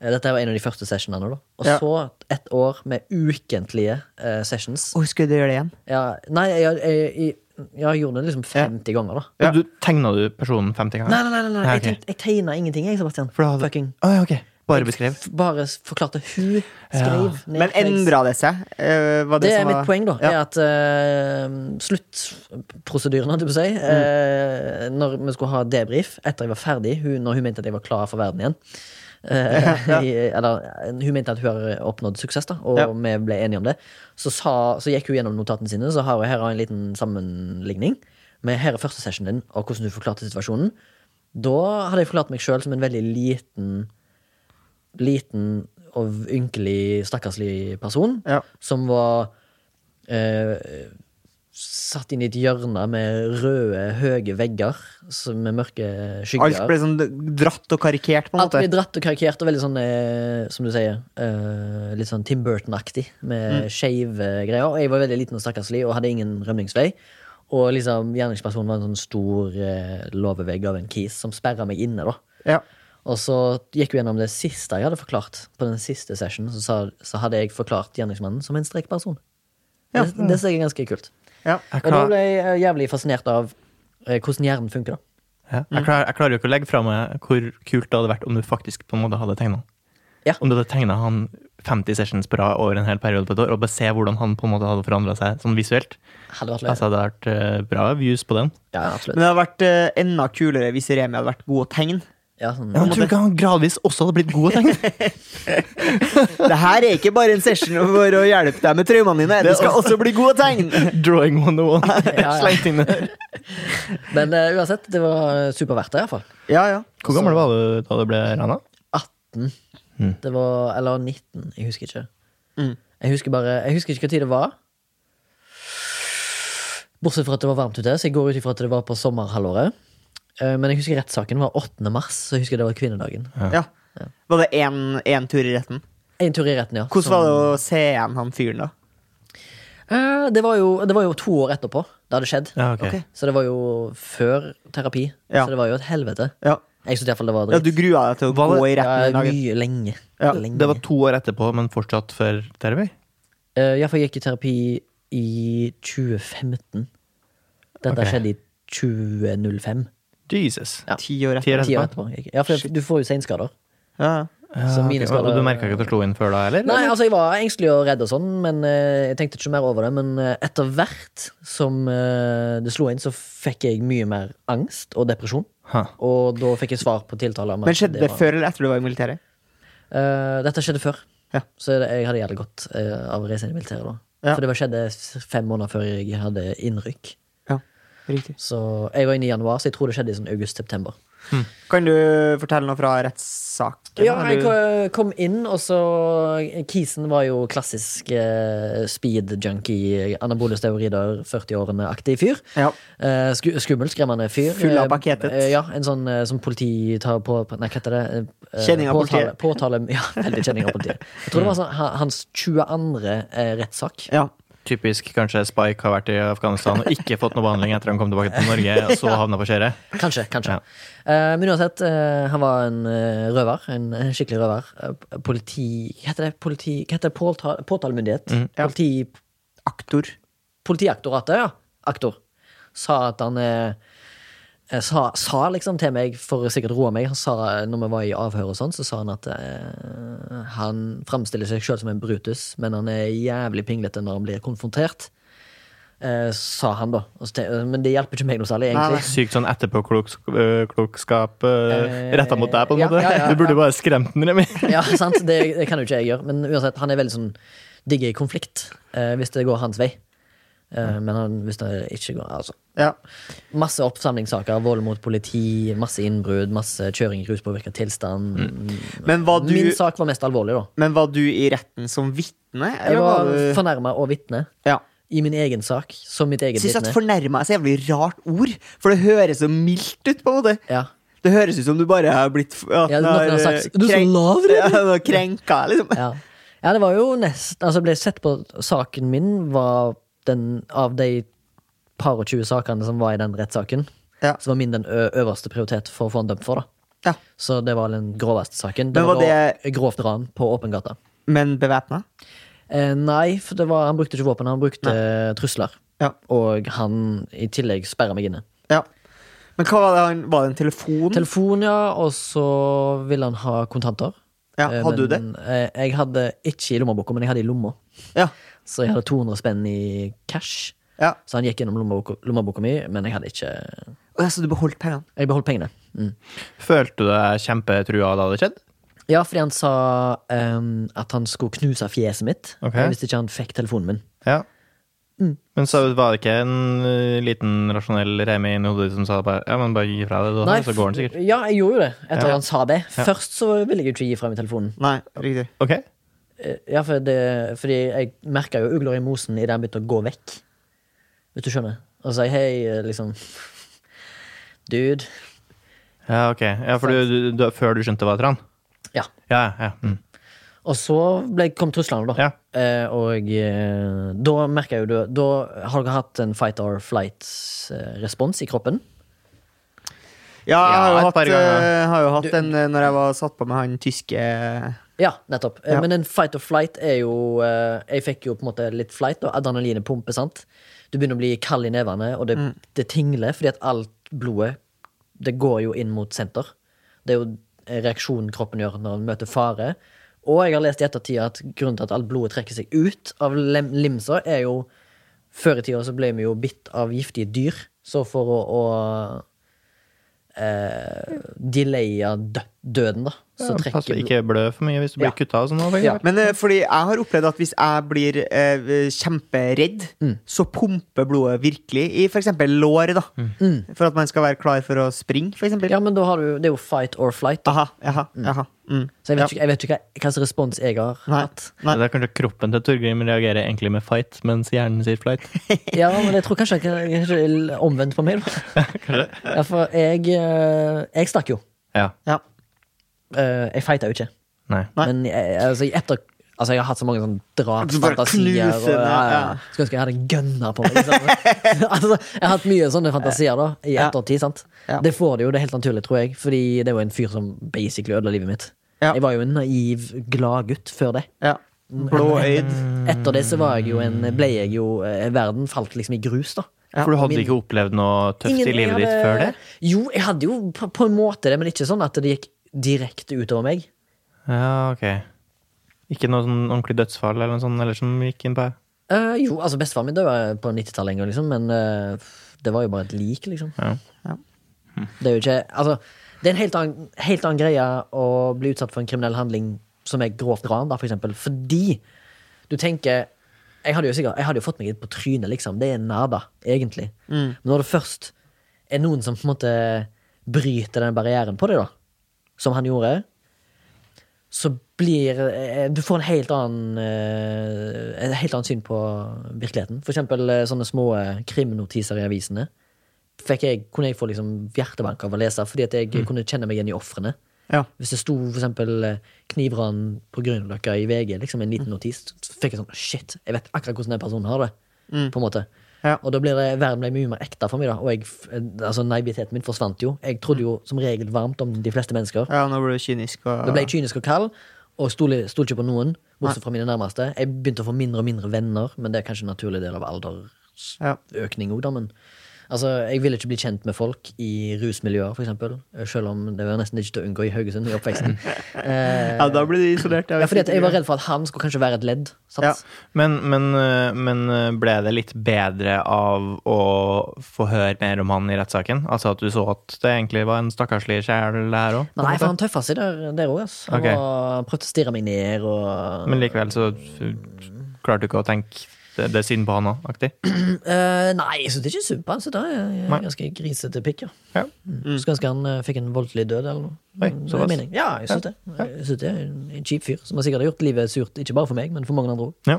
Speaker 1: Eh, Dette var en av de første sessionene. da Og
Speaker 2: Ja.
Speaker 1: så et år med ukentlige eh, sessions.
Speaker 2: Og skulle du gjøre det igjen?
Speaker 1: Ja, nei, jeg, jeg, jeg, jeg gjorde det liksom 50 ganger, da.
Speaker 3: Du tegna du personen 50 ganger?
Speaker 1: Nei, nei, nei, nei, nei.
Speaker 3: Nei,
Speaker 1: Jeg,
Speaker 3: ok.
Speaker 1: tenkte, jeg tegna ingenting, jeg, Sebastian.
Speaker 3: For da hadde-
Speaker 1: Fucking
Speaker 3: Å, ja, ok. Bare beskrev.
Speaker 1: f- Bare s- forklarte hun skrev ned
Speaker 2: Men
Speaker 1: hva jeg
Speaker 2: endra det seg? Eh, var
Speaker 1: Det
Speaker 2: det,
Speaker 1: er
Speaker 2: som
Speaker 1: mitt
Speaker 2: var-
Speaker 1: poeng, da.
Speaker 2: Ja.
Speaker 1: Er at eh, sluttprosedyren, hadde jeg på å si, eh, når vi skulle ha debrief etter jeg var ferdig, hun, når hun mente at jeg var klar for verden igjen eh, i, Eller eh, hun mente at hun har oppnådd suksess, da, og
Speaker 2: Ja.
Speaker 1: vi ble enige om det. Så, sa, så gikk hun gjennom notatene sine, så har hun her har jeg en liten sammenligning. Med her er første session din, og hvordan du forklarte situasjonen. Da hadde jeg forklart meg sjøl som en veldig liten liten og ynkelig, stakkarslig person
Speaker 2: Ja.
Speaker 1: som var eh, satt inn i et hjørne med røde, høye vegger som- med mørke
Speaker 2: Alt
Speaker 1: skygger.
Speaker 2: ble sånn dratt og karikert, på en
Speaker 1: Alt
Speaker 2: måte.
Speaker 1: ble dratt og karikert og veldig sånn, eh, som du sier, eh, litt sånn Tim Burton-aktig,
Speaker 2: Mm.
Speaker 1: med skeive greier. Og jeg var veldig liten og stakkarslig og hadde ingen rømningsvei. Og liksom, gjerningspersonen var en sånn stor eh, låvevegg av en kis som sperra meg inne, da.
Speaker 2: Ja.
Speaker 1: Og så gikk vi gjennom det siste jeg hadde forklart. På den siste sessionen så, sa, så hadde jeg forklart gjerningsmannen som en strekperson.
Speaker 2: Ja.
Speaker 1: Det, det ser jeg ganske kult.
Speaker 2: Ja.
Speaker 3: Jeg
Speaker 1: Og da
Speaker 3: klar-
Speaker 1: ble jeg eh, jævlig fascinert av eh, hvordan hjernen funker. da.
Speaker 3: Ja.
Speaker 1: Mm.
Speaker 3: Jeg, klar, jeg klarer jo ikke å legge fra meg hvor kult det hadde vært om du faktisk på en måte hadde tegna han.
Speaker 1: Ja.
Speaker 3: Om du hadde tegna han 50 sessions på rad over en hel periode på et år, og bare se hvordan han på en måte hadde forandra seg sånn visuelt.
Speaker 1: Hadde vært løye.
Speaker 3: Altså, det hadde vært eh, bra views på den.
Speaker 1: Ja, absolutt.
Speaker 2: Men det hadde vært eh, enda kulere hvis Remi hadde vært god å tegne.
Speaker 1: Ja, sånn,
Speaker 3: Ja, men tror du ikke han gradvis også hadde blitt god å tegne?
Speaker 2: Det her er ikke bare en session for å hjelpe deg med traumene dine. Du skal også bli god å tegne!
Speaker 3: Drawing 101.
Speaker 1: Ja, ja.
Speaker 3: Slengt inn der.
Speaker 1: Men eh, uansett, det var superverdt det, iallfall.
Speaker 2: Ja, ja.
Speaker 3: Hvor gammel var du da du ble rana?
Speaker 1: 18. Det var Eller 19, jeg husker ikke.
Speaker 2: Mm.
Speaker 1: Jeg husker bare Jeg husker ikke når det var. Bortsett fra at det var varmt ute, så jeg går ut ifra at det var på sommerhalvåret. Eh, Men jeg husker rettssaken var 8. mars, så jeg husker det var kvinnedagen.
Speaker 2: ja. Var det én tur i retten?
Speaker 1: En tur i retten, ja.
Speaker 2: Hvordan
Speaker 1: Som-
Speaker 2: var det å se igjen han fyren, da?
Speaker 1: Eh, Det var, jo, det var jo to år etterpå det hadde skjedd.
Speaker 3: Ja, ok.
Speaker 2: Ok.
Speaker 1: Så det var jo før terapi.
Speaker 2: Ja.
Speaker 1: Så det var jo et helvete.
Speaker 2: Ja,
Speaker 1: Jeg syntes iallfall det var
Speaker 2: ja
Speaker 1: dritt.
Speaker 2: Du grua deg til å
Speaker 3: Var det-
Speaker 2: gå i retten
Speaker 1: Ja,
Speaker 2: den dagen?
Speaker 1: mye lenge.
Speaker 2: Ja,
Speaker 1: lenge.
Speaker 3: Det var to år etterpå, men fortsatt for terapi?
Speaker 1: Eh, ja, for jeg gikk i terapi i 2015. Dette
Speaker 3: Ok.
Speaker 1: skjedde i 2005.
Speaker 3: Jesus.
Speaker 1: Ja.
Speaker 2: Ti år
Speaker 3: Ti
Speaker 2: etter.
Speaker 3: år
Speaker 1: Ti år etterpå. gikk jeg. Ja, for du får jo senskader.
Speaker 2: Ja.
Speaker 1: Så
Speaker 3: Ja,
Speaker 1: mine
Speaker 3: ok.
Speaker 1: skader-
Speaker 3: Og du merka ikke at du slo inn før da, eller?
Speaker 1: Nei, altså Jeg var engstelig og redd, og sånn men eh, jeg tenkte ikke mer over det. Men eh, etter hvert som eh, det slo inn, så fikk jeg mye mer angst og depresjon.
Speaker 3: Hæ.
Speaker 1: Og da fikk jeg svar på tiltaler. om at
Speaker 2: Men skjedde det
Speaker 1: var-
Speaker 2: før eller etter du var i militæret?
Speaker 1: Eh, dette skjedde før.
Speaker 2: Ja.
Speaker 1: Så det, jeg hadde jævlig godt eh, av å reise inn i militæret da.
Speaker 2: Ja.
Speaker 1: For det var skjedde s- fem måneder før jeg hadde innrykk.
Speaker 2: Ja, riktig.
Speaker 1: Så jeg var inne i januar, så jeg tror det skjedde i sånn august-september.
Speaker 2: Kan du fortelle noe fra rettssaken?
Speaker 1: Ja,
Speaker 2: Har
Speaker 1: jeg
Speaker 2: du-
Speaker 1: ko- kom inn, og så eh, Kisen var jo klassisk eh, speed junkie, anabole steroider, 40-årene-aktig fyr.
Speaker 2: Ja.
Speaker 1: Eh, sku, skummel, skremmende fyr.
Speaker 2: Full av
Speaker 1: Eh,
Speaker 2: pakketet.
Speaker 1: Eh, ja, en sånn eh, som politi tar på Nei, hva heter det? Eh,
Speaker 2: Kjenning av
Speaker 1: påtale-
Speaker 2: politiet.
Speaker 1: Påtale, ja, veldig kjenning av politiet. Jeg tror det var sånn, ha- hans 22. Eh, rettssak.
Speaker 2: ja.
Speaker 3: Typisk kanskje Spike har vært i Afghanistan og ikke fått noe behandling etter han kom tilbake til Norge, og så havna på skjæret.
Speaker 1: Kanskje, kanskje. Eh, men uansett, eh, han var en eh, røver. En eh, skikkelig røver. Eh, politi... Hva heter det? Politi, hva heter det? Påtal, påtalemyndighet?
Speaker 2: Mm, Ja.
Speaker 1: Politi...
Speaker 2: Aktor.
Speaker 1: Politiaktoratet, ja. Aktor. Sa at han eh, eh, sa, sa liksom til meg, for å sikkert roe meg, han sa eh, når vi var i avhør og sånn, så sa han at eh, han framstiller seg sjøl som en Brutus, men han er jævlig pinglete når han blir konfrontert. Eh, sa han, da. Og så te- Men det hjelper ikke meg noe særlig,
Speaker 2: Nei,
Speaker 1: egentlig.
Speaker 2: nei.
Speaker 3: Sykt sånn etterpåklokskap øh, retta mot deg, på en
Speaker 1: Eh, ja, ja,
Speaker 3: måte.
Speaker 1: ja, ja.
Speaker 3: Du burde bare skremt den, Remi.
Speaker 1: Ja, sant? Det, det kan jo ikke jeg gjøre. Men uansett, han er veldig sånn digg i konflikt, eh, hvis det går hans vei. Eh, men han, hvis det ikke går altså.
Speaker 2: Ja.
Speaker 1: Masse oppsamlingssaker. Vold mot politi, masse innbrudd, masse kjøring i ruspåvirka tilstand.
Speaker 2: Men, var Mm. du,
Speaker 1: Min sak var mest alvorlig, da.
Speaker 2: men var du i retten som vitne?
Speaker 1: Jeg
Speaker 2: Eller var
Speaker 1: var
Speaker 2: du
Speaker 1: fornærma og vitne
Speaker 2: ja.
Speaker 1: i min egen sak, som mitt eget
Speaker 2: Jeg syns at
Speaker 1: vitne.
Speaker 2: fornærma er så jævlig rart ord, for det høres så mildt ut, på en måte.
Speaker 1: Ja.
Speaker 2: Det høres ut som du bare har blitt at
Speaker 1: Ja,
Speaker 2: den
Speaker 1: noen har sagt,
Speaker 2: eh,
Speaker 1: «Du er så
Speaker 2: krenk-
Speaker 1: lav, Remi!»
Speaker 2: ja, den har Krenka, liksom.
Speaker 1: Ja. ja, det var jo nest Altså, ble sett på saken min var den av de par og tjue sakene som var i den rettssaken,
Speaker 2: Ja.
Speaker 1: så var min den ø- øverste prioritet for å få han dømt for, da.
Speaker 2: Ja.
Speaker 1: Så det var den groveste saken. Det
Speaker 2: Men
Speaker 1: var,
Speaker 2: var
Speaker 1: grov-
Speaker 2: det-
Speaker 1: grovt ran på åpen gate.
Speaker 2: Men bevæpna?
Speaker 1: Eh, nei, for det var, han brukte ikke våpen, han brukte trusler.
Speaker 2: Ja.
Speaker 1: Og han i tillegg sperra meg inne.
Speaker 2: ja. Men hva var det? han- Var det en telefon?
Speaker 1: Telefon, ja, og så ville han ha kontanter.
Speaker 2: ja,
Speaker 1: Eh,
Speaker 2: hadde du det?
Speaker 1: men, eh, Jeg hadde ikke i lommeboka, men jeg hadde i lomma.
Speaker 2: Ja.
Speaker 1: Så jeg hadde 200 spenn i cash.
Speaker 2: ja.
Speaker 1: Så han gikk gjennom lommeboka, lommeboka mi, men jeg hadde ikke
Speaker 2: Å, ja, så du beholdt pengene?
Speaker 1: Jeg beholdt pengene. Mm.
Speaker 3: Følte du deg kjempetrua da det skjedde?
Speaker 1: Ja, fordi han sa ehm, at han skulle knuse fjeset mitt
Speaker 3: Ok.
Speaker 1: eh, hvis ikke han fikk telefonen min.
Speaker 3: Ja.
Speaker 1: Mm.
Speaker 3: Men så var det ikke en ø, liten rasjonell Remi inni hodet som sa bare, ja, men bare gi fra deg, da, så går den sikkert.
Speaker 1: Ja, jeg gjorde jo det etter
Speaker 3: Ja.
Speaker 1: han sa det. Først så ville jeg jo ikke gi fra meg telefonen.
Speaker 2: Nei, riktig.
Speaker 3: Ok,
Speaker 1: Eh, Ja, for det, fordi jeg merka jo ugler i mosen idet han begynte å gå vekk. Hvis du skjønner. Og si hei, eh, liksom Dude.
Speaker 3: ja, ok. Ja, for du, du, du, før du skjønte hva det var han?
Speaker 1: Ja.
Speaker 3: Ja, ja. Mm.
Speaker 1: Og så ble, kom truslene, da.
Speaker 3: Ja.
Speaker 1: Eh, og eh, da merker jeg jo du Da har dere hatt en fight or flight-respons i kroppen.
Speaker 2: Ja, jeg har jo
Speaker 3: Ja, et
Speaker 2: hatt,
Speaker 3: par ganger.
Speaker 2: eh, har jo hatt en eh, når jeg var satt på med han tyske
Speaker 1: Ja, nettopp. Eh,
Speaker 2: Ja.
Speaker 1: Men en fight or flight er jo eh, Jeg fikk jo på en måte litt flight, og adrenalinet pumper, sant. Du begynner å bli kald i nevene, og det, det tingler, fordi at alt blodet Det går jo inn mot senter. Det er jo reaksjonen kroppen gjør når den møter fare. Og jeg har lest i ettertid at grunnen til at alt blodet trekker seg ut av lem limsa, er jo Før i tida så ble vi jo bitt av giftige dyr, så for å, å eh, delaye dø døden, da. Så
Speaker 3: Ja,
Speaker 1: trekker
Speaker 3: pass på, ikke blø for mye hvis du blir
Speaker 1: Ja.
Speaker 3: kutta og sånn. også,
Speaker 1: Ja.
Speaker 3: faktisk.
Speaker 2: Men eh, fordi jeg har opplevd at hvis jeg blir eh, kjemperedd,
Speaker 3: Mm.
Speaker 2: så pumper blodet virkelig i f.eks. lår, da.
Speaker 3: Mm.
Speaker 2: For at man skal være klar for å springe, f.eks.
Speaker 1: Mm. Ja, men da har du, det er jo fight or flight. Da.
Speaker 2: Aha, jaha, jaha. Mm.
Speaker 1: Så jeg
Speaker 2: Ja.
Speaker 1: vet, ikke, jeg vet ikke hva hva slags respons jeg har
Speaker 2: Nei.
Speaker 1: hatt.
Speaker 2: Nei.
Speaker 3: Det er kanskje kroppen til Torgrim reagerer egentlig med fight, mens hjernen sier flight.
Speaker 1: Ja, men jeg tror kanskje jeg kanskje er omvendt på meg. da. Ja, for jeg, eh, jeg stakk jo.
Speaker 3: Ja.
Speaker 2: Ja.
Speaker 1: Eh, Jeg fighta jo ikke.
Speaker 3: Nei.
Speaker 2: Nei.
Speaker 1: Men jeg, altså, i etter, altså, jeg har hatt så mange sånne
Speaker 2: Du bare
Speaker 1: drapsfantasier. og-
Speaker 2: knuser den,
Speaker 1: Ja,
Speaker 2: ja.
Speaker 1: ja. Skulle ønske jeg hadde en gunner på meg. Liksom. altså, jeg har hatt mye sånne fantasier da, i
Speaker 2: Ja.
Speaker 1: ettertid. sant?
Speaker 2: Ja.
Speaker 1: Det får det jo, det er helt naturlig, tror jeg. Fordi det var en fyr som basically ødela livet mitt.
Speaker 2: Ja.
Speaker 1: Jeg var jo en naiv, glad gutt før det.
Speaker 2: ja. Blåøyd.
Speaker 1: Etter det så var jeg jo en, ble jeg jo eh, Verden falt liksom i grus, da.
Speaker 3: For du hadde
Speaker 1: Min-
Speaker 3: ikke opplevd noe tøft
Speaker 1: Ingen-
Speaker 3: i
Speaker 1: jeg
Speaker 3: livet ditt
Speaker 1: hadde-
Speaker 3: før det?
Speaker 1: Jo, jeg hadde jo på, på en måte det, men ikke sånn at det gikk direkte utover meg.
Speaker 3: Ja, ok. Ikke noe sånn ordentlig dødsfall eller noe sånt eller som gikk inn på deg?
Speaker 1: Eh, jo, altså bestefaren min døde på 90-tallet, en gang, liksom, men eh, det var jo bare et lik, liksom.
Speaker 3: Ja.
Speaker 1: Det er jo ikke Altså, det er en helt annen, helt annen greie å bli utsatt for en kriminell handling som er grovt ran, da, for eksempel, fordi du tenker jeg hadde jo sikkert, jeg hadde jo fått meg litt på trynet, liksom. Det er nada, egentlig. Men når det først er noen som på en måte bryter den barrieren på deg, da, som han gjorde, så blir eh, Du får en helt annen eh, En helt annen syn på virkeligheten. For eksempel eh, sånne små eh, krimnotiser i avisene. Fikk jeg, kunne jeg få liksom hjertebank av å lese, fordi at jeg kunne kjenne meg igjen i ofrene.
Speaker 2: Ja.
Speaker 1: Hvis det sto for eksempel eh, knivran på Grünerløkka i VG, liksom en liten notis, så fikk jeg sånn Shit, jeg vet akkurat hvordan den personen har det. På en måte.
Speaker 2: Ja.
Speaker 1: Og da blir det, verden ble mye mer ekte for meg, da. Og jeg, f- eh, altså, naiviteten min forsvant jo. Jeg trodde jo som regel varmt om de fleste mennesker.
Speaker 2: ja, nå ble du kynisk. Og...
Speaker 1: Da ble jeg kynisk og kald, og stolte stol ikke på noen. Bortsett fra mine nærmeste. Jeg begynte å få mindre og mindre venner, men det er kanskje en naturlig del av aldersøkning
Speaker 2: Ja.
Speaker 1: òg, da. Men altså, jeg ville ikke bli kjent med folk i rusmiljøer, f.eks. Selv om det var nesten ikke til å unngå i Haugesund i oppveksten. eh,
Speaker 2: ja, da ble du isolert.
Speaker 1: ja, fordi at jeg var redd for at han skulle kanskje være et ledd. Sant?
Speaker 2: Ja.
Speaker 3: Men, men, øh, men øh, ble det litt bedre av å få høre mer om han i rettssaken? Altså at du så at det egentlig var en stakkarslig sjel her òg?
Speaker 1: Nei, for han tøffa seg der der òg. ass. Han
Speaker 3: Ok.
Speaker 1: var- prøvde å stirre meg ned og
Speaker 3: Men likevel så f- klarte du ikke å tenke det, det er synd på han òg, aktig?
Speaker 1: Eh, Nei, jeg syns ikke synd på han, så da er jeg
Speaker 3: Nei.
Speaker 1: ganske grisete pikk, ja.
Speaker 3: Ja.
Speaker 1: Mm. Skulle ønske han eh, fikk en voldelig død eller noe. Mm,
Speaker 3: Oi,
Speaker 1: Det
Speaker 3: såpass.
Speaker 1: er meningen. Ja, jeg synes det. Jeg synes det er en en kjip fyr som har sikkert gjort livet surt, ikke bare for meg, men for mange andre òg.
Speaker 3: Ja.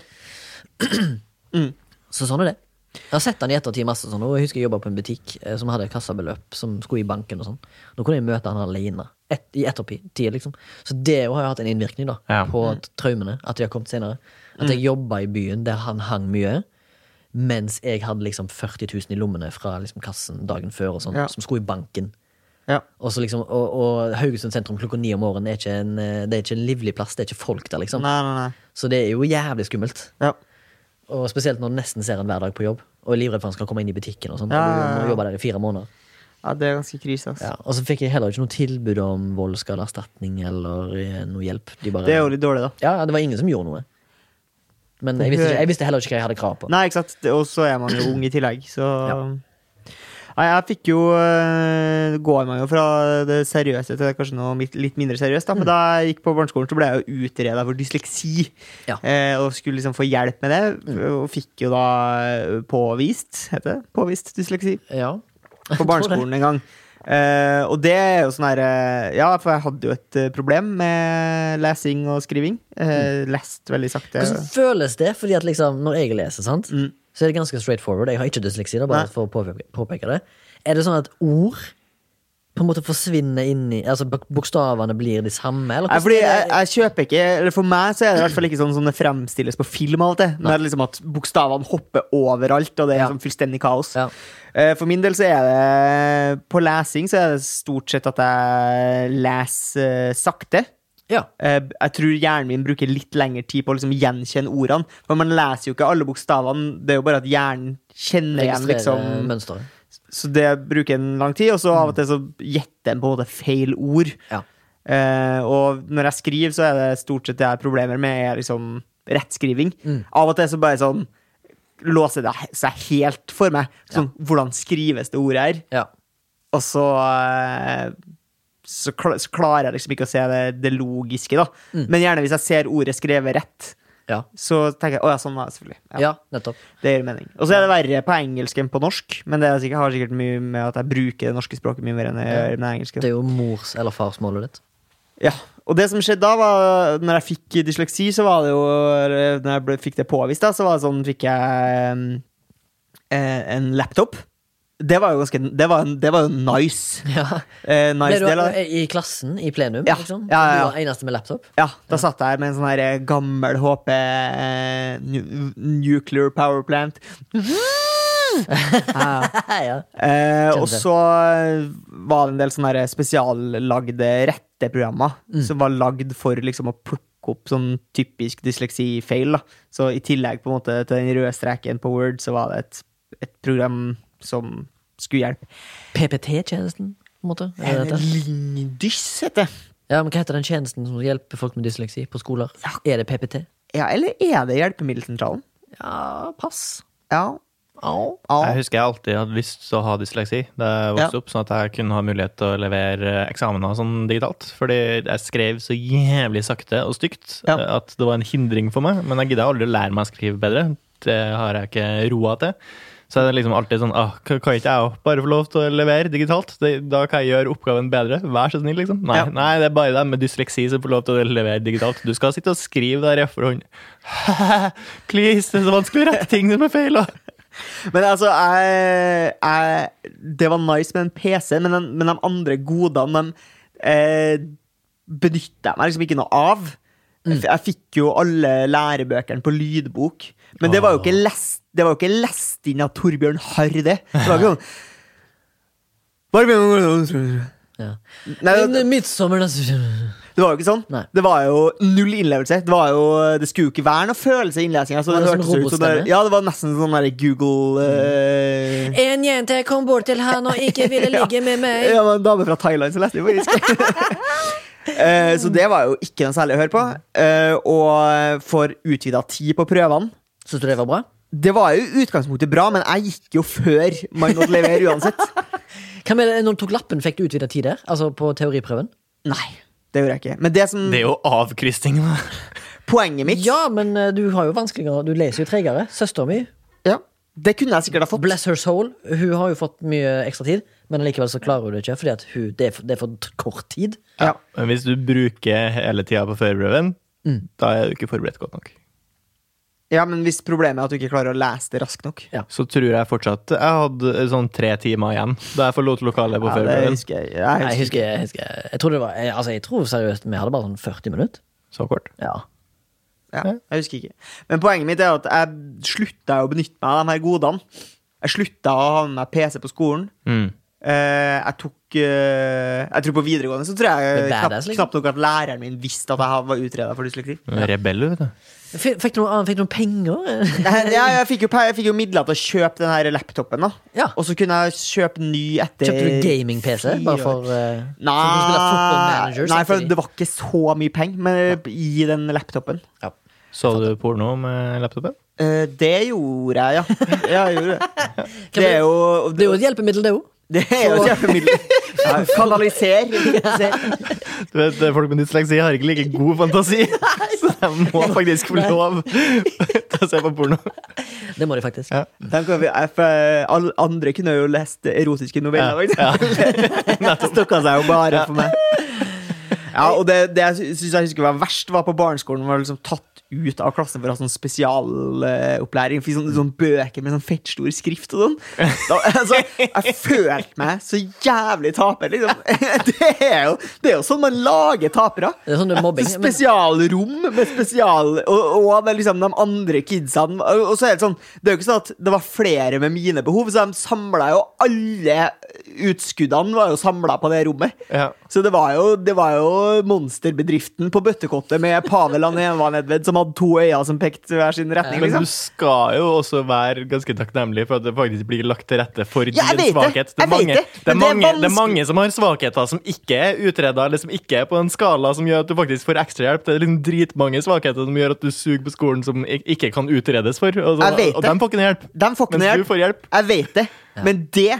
Speaker 1: Så sånn er det. Jeg har sett han i ettertid masse sånn, og jeg husker jeg jobba på en butikk eh, som hadde kassabeløp som skulle i banken og sånn. Nå kunne jeg møte han alene. Et, I ettertid, liksom. Så det jo har jo hatt en innvirkning da,
Speaker 3: Ja.
Speaker 1: på
Speaker 2: Mm.
Speaker 1: t- traumene. At de har kommet senere. At jeg jobba i byen der han hang mye, mens jeg hadde liksom 40 000 i lommene fra liksom, kassen dagen før, og sånn,
Speaker 2: Ja.
Speaker 1: som skulle i banken.
Speaker 2: Ja.
Speaker 1: Og, så liksom, og, og Haugesund sentrum klokka ni om morgenen er ikke en, eh, det er ikke en livlig plass. Det er ikke folk der, liksom.
Speaker 2: Nei, nei, nei.
Speaker 1: Så det er jo jævlig skummelt.
Speaker 2: Ja.
Speaker 1: Og Spesielt når du nesten ser han hver dag på jobb. Og er livredd for han skal komme inn i butikken. Og sånt,
Speaker 2: Ja,
Speaker 1: og
Speaker 2: ja,
Speaker 1: du
Speaker 2: ja.
Speaker 1: må jobbe der i fire måneder
Speaker 2: ja, det er ganske krise, altså.
Speaker 1: ja. Og så fikk jeg heller ikke noe tilbud om voldsskadeerstatning eller eh, noe hjelp. De bare,
Speaker 2: Det er jo litt dårlig, da.
Speaker 1: ja, ja, det var ingen som gjorde noe. Men jeg visste, ikke, jeg visste heller ikke hva jeg hadde krav på.
Speaker 2: Nei, ikke sant. Det- Og så er man jo ung i tillegg, så Nei, jeg fikk jo øh, Går man jo fra det seriøse til kanskje noe mitt- litt mindre seriøst,
Speaker 1: Mm.
Speaker 2: da. Men da jeg gikk på barneskolen, så ble jeg jo utreda for dysleksi.
Speaker 1: Ja. Mm.
Speaker 2: Eh, og skulle liksom få hjelp med det. Og fikk jo da eh, påvist, heter det? Påvist dysleksi
Speaker 1: Ja.
Speaker 2: på barneskolen en gang. Eh, og det er jo sånn her eh, Ja, for jeg hadde jo et eh, problem med lesing og skriving. Eh, Lest veldig sakte.
Speaker 1: Mm. Hvordan føles det? Fordi at liksom, Når jeg leser, sant?
Speaker 2: Mm.
Speaker 1: så er det ganske straight forward. Jeg har ikke dysleksi. da,
Speaker 2: Nei.
Speaker 1: bare for å påpeke, påpeke det. Er det sånn at ord på en måte forsvinner inn i Altså bok- Bokstavene blir de samme? Eller
Speaker 2: Nei,
Speaker 1: hvordan er
Speaker 2: fordi jeg,
Speaker 1: det?
Speaker 2: jeg kjøper ikke Eller For meg så er det i hvert fall ikke sånn som det fremstilles på film. og alt det Men det er liksom at Bokstavene hopper overalt, og det er
Speaker 1: Ja.
Speaker 2: sånn fullstendig kaos.
Speaker 1: Ja.
Speaker 2: Eh, For min del så er det På lesing så er det stort sett at jeg leser eh, sakte.
Speaker 1: ja.
Speaker 2: Eh, Jeg tror hjernen min bruker litt lengre tid på å liksom gjenkjenne ordene. For man leser jo ikke alle bokstavene, det er jo bare at hjernen kjenner
Speaker 1: Registrerer
Speaker 2: igjen liksom
Speaker 1: mønsteret.
Speaker 2: Så det bruker en lang tid, og så av og til så gjetter en på en måte feil ord.
Speaker 1: Ja.
Speaker 2: Eh, og når jeg skriver, så er det stort sett det jeg har problemer med, er liksom rettskriving. Av og til så bare sånn låser det he- seg helt for meg. Sånn, Hvordan skrives det ordet her?
Speaker 1: Ja.
Speaker 2: Og så eh, så, kla- så klarer jeg liksom ikke å se det, det logiske, da. Men gjerne hvis jeg ser ordet skrevet rett,
Speaker 1: Ja.
Speaker 2: så tenker jeg å ja, sånn var det selvfølgelig. Ja,
Speaker 1: ja, nettopp.
Speaker 2: Det gir mening. Og så er det verre på engelsk enn på norsk, men det er sikkert, har sikkert mye med at jeg bruker det norske språket mye mer enn jeg gjør med det engelske.
Speaker 1: Det er jo mors- eller farsmålet ditt.
Speaker 2: Ja, og det som skjedde da var Når jeg fikk dysleksi, så var det jo eller Når jeg ble, fikk det påvist, da, så var det sånn Fikk jeg mm, eh, en laptop. Det var jo ganske Det var, det var jo nice.
Speaker 1: Ja.
Speaker 2: Eh,
Speaker 1: Ble
Speaker 2: nice
Speaker 1: du
Speaker 2: del av det.
Speaker 1: i klassen, i plenum,
Speaker 2: Ja.
Speaker 1: liksom?
Speaker 2: Ja, ja, ja.
Speaker 1: Du var eneste med laptop?
Speaker 2: Ja, da satt jeg med en sånn her eh, gammel HP eh, nu- nuclear power plant. Ja, ja.
Speaker 1: ja.
Speaker 2: Eh, og
Speaker 1: det.
Speaker 2: så eh, var det en del sånne her spesiallagde retteprogrammer
Speaker 1: Mm.
Speaker 2: som var lagd for liksom å plukke opp sånn typisk dysleksifeil. da. Så i tillegg på en måte til den røde streken på Word, så var det et, et program som skulle hjelpe.
Speaker 1: PPT-tjenesten, på en måte? Er det dette?
Speaker 2: Lindys, heter det.
Speaker 1: Ja, men Hva heter den tjenesten som hjelper folk med dysleksi på skoler? Er det PPT?
Speaker 2: Ja, eller er det Hjelpemiddelsentralen?
Speaker 1: Ja, pass.
Speaker 2: Ja.
Speaker 1: Au.
Speaker 2: ja.
Speaker 3: Jeg husker jeg alltid hadde lyst til å ha dysleksi da jeg vokste
Speaker 2: Ja.
Speaker 3: opp, sånn at jeg kunne ha mulighet til å levere eh, eksamener og sånn digitalt. Fordi jeg skrev så jævlig sakte og stygt
Speaker 2: Ja.
Speaker 3: eh, at det var en hindring for meg. Men jeg gidda aldri å lære meg å skrive bedre. det har jeg ikke roa til. Så er det liksom alltid sånn ah, Kan kan ikke jeg også bare få lov til å levere digitalt? Det, da kan jeg gjøre oppgaven bedre. Vær så snill, liksom. Nei,
Speaker 2: Ja.
Speaker 3: nei det er bare deg med dysleksi som får lov til å levere digitalt. Du skal sitte og skrive der i hånd. Please, det er så vanskelig å rette ting som er feil. Og.
Speaker 2: Men altså, jeg, jeg, det var nice med en PC, men, den, men de andre godene de, eh, benytta jeg meg liksom ikke noe av. Jeg f- Jeg fikk jo alle lærebøkene på lydbok, men det var jo ikke lest, det var jo ikke lest inn av Torbjørn Harr, det. Det var ikke sånn Bare begynn å- sånn,
Speaker 1: Ja.
Speaker 2: Nei, det-
Speaker 1: Men midtsommer, da
Speaker 2: det var jo ikke sånn.
Speaker 1: Nei.
Speaker 2: Det var jo null innlevelse. Det, var jo, det skulle jo ikke være noe følelse i innlesinga.
Speaker 1: Var det sånn robotstemme? Mm.
Speaker 2: ja, det var nesten sånn der Google eh,
Speaker 1: En jente kom bort til han og ikke ville ligge med meg.
Speaker 2: Ja, men en dame fra Thailand som leste det faktisk. Eh, så det var jo ikke noe særlig å høre på. Eh, og for utvida tid på prøvene.
Speaker 1: Syns du det var bra?
Speaker 2: Det var jo i utgangspunktet bra, men jeg gikk jo før man måtte levere uansett.
Speaker 1: Hva med det, når du tok lappen, fikk du utvida tid der? Altså på teoriprøven?
Speaker 2: Nei, det gjorde jeg ikke. Men det som
Speaker 3: Det er jo avkrysning. da.
Speaker 2: poenget mitt
Speaker 1: Ja, men eh, du har jo vanskeligere Du leser jo tregere. Søstera mi,
Speaker 2: Ja, Det kunne jeg sikkert ha fått.
Speaker 1: bless her soul, hun har jo fått mye ekstra tid, men likevel så klarer hun det ikke, fordi at hun, det, er for, det er for t- kort tid.
Speaker 2: Ja.
Speaker 3: Men hvis du bruker hele tida på førerprøven,
Speaker 2: Mm.
Speaker 3: da er du ikke forberedt godt nok.
Speaker 2: ja, men hvis problemet er at du ikke klarer å lese det raskt nok.
Speaker 3: Så tror jeg fortsatt Jeg hadde sånn tre timer igjen da jeg forlot lokalet på
Speaker 2: Ja, det
Speaker 3: førerprøven.
Speaker 2: husker jeg.
Speaker 1: Jeg
Speaker 2: jeg husker.
Speaker 1: husker, jeg, husker, jeg tror det var jeg, Altså, jeg tror seriøst vi hadde bare sånn 40 minutter.
Speaker 3: Så kort.
Speaker 1: Ja.
Speaker 2: Ja, jeg husker ikke. Men poenget mitt er at jeg slutta å benytte meg av de her godene. Jeg slutta å ha med meg PC på skolen.
Speaker 3: Mm.
Speaker 2: Eh, jeg tok eh, Jeg tror på videregående så tror jeg
Speaker 1: Det er
Speaker 2: knapt
Speaker 1: badass, liksom.
Speaker 2: knapt nok at læreren min visste at jeg var utreda for dysleksi.
Speaker 3: Rebell, vet du.
Speaker 1: Fikk, fikk, du noe annet, fikk du noen penger?
Speaker 2: Nei, ja, jeg, fikk jo, pe- jeg fikk jo midler til å kjøpe den her laptopen, da.
Speaker 1: Ja.
Speaker 2: Og så kunne jeg kjøpe ny etter
Speaker 1: Kjøpte du gaming-PC bare for eh,
Speaker 2: Nei,
Speaker 1: så du kunne spille football manager
Speaker 2: nei for
Speaker 1: samtidig?
Speaker 2: det var ikke så mye penger men, i den laptopen.
Speaker 1: ja.
Speaker 3: Så du porno med laptopen?
Speaker 2: Eh, det gjorde jeg, ja. ja jeg gjorde det.
Speaker 1: Kan
Speaker 2: det
Speaker 1: vi-
Speaker 2: er jo
Speaker 1: Det er jo et hjelpemiddel, det òg.
Speaker 2: Det er jo et hjelpemiddel. Ja, kanaliser. kanaliser.
Speaker 3: Du vet, Folk med dysleksi har ikke like god fantasi, så de må faktisk få lov til å se på porno.
Speaker 1: Det må de faktisk.
Speaker 3: Ja.
Speaker 2: Tenk om vi- jeg- for Alle andre kunne jo lest erotiske noveller. for eksempel. Det Stokka seg jo bare for meg. Ja, og det, det jeg sy- synes jeg husker var verst, var på barneskolen. Var liksom tatt ut av klassen for å ha sånn spesialopplæring. Fikk sånne, sånne bøker med sånn fettstor skrift og sånn. Da, altså, jeg følte meg så jævlig taper, liksom. Det er jo, det er jo sånn man lager tapere.
Speaker 1: Det er sånn det er mobbing. Men,
Speaker 2: Spesialrom med spesial Og, og med liksom de andre kidsene. Og og så er det sånn Det er jo ikke sånn at det var flere med mine behov, så de samla jo alle utskuddene var jo samlet på det rommet.
Speaker 3: Ja.
Speaker 2: Så det var, jo, det var jo monsterbedriften på Bøttekottet med Paveland og Eva Nedved som hadde to øyne som pekte hver sin retning.
Speaker 3: Men du
Speaker 2: liksom
Speaker 3: skal jo også være ganske takknemlig for at det faktisk blir lagt til rette for
Speaker 2: Ja, jeg
Speaker 3: din
Speaker 2: vet det.
Speaker 3: svakhet. Det
Speaker 2: Jeg
Speaker 3: er,
Speaker 2: vet
Speaker 3: mange,
Speaker 2: det. Men
Speaker 3: det, er
Speaker 2: det er
Speaker 3: mange, det er
Speaker 2: vanskelig.
Speaker 3: mange som har svakheter som ikke er utreda, eller som ikke er på en skala som gjør at du faktisk får ekstrahjelp. Det er liksom dritmange svakheter som gjør at du suger på skolen som ik- ikke kan utredes for. Og, så,
Speaker 2: Jeg vet
Speaker 3: og
Speaker 2: det.
Speaker 3: dem får ikke noe hjelp.
Speaker 2: De får ikke
Speaker 3: Mens
Speaker 2: noe
Speaker 3: du får hjelp.
Speaker 2: Jeg vet det, men det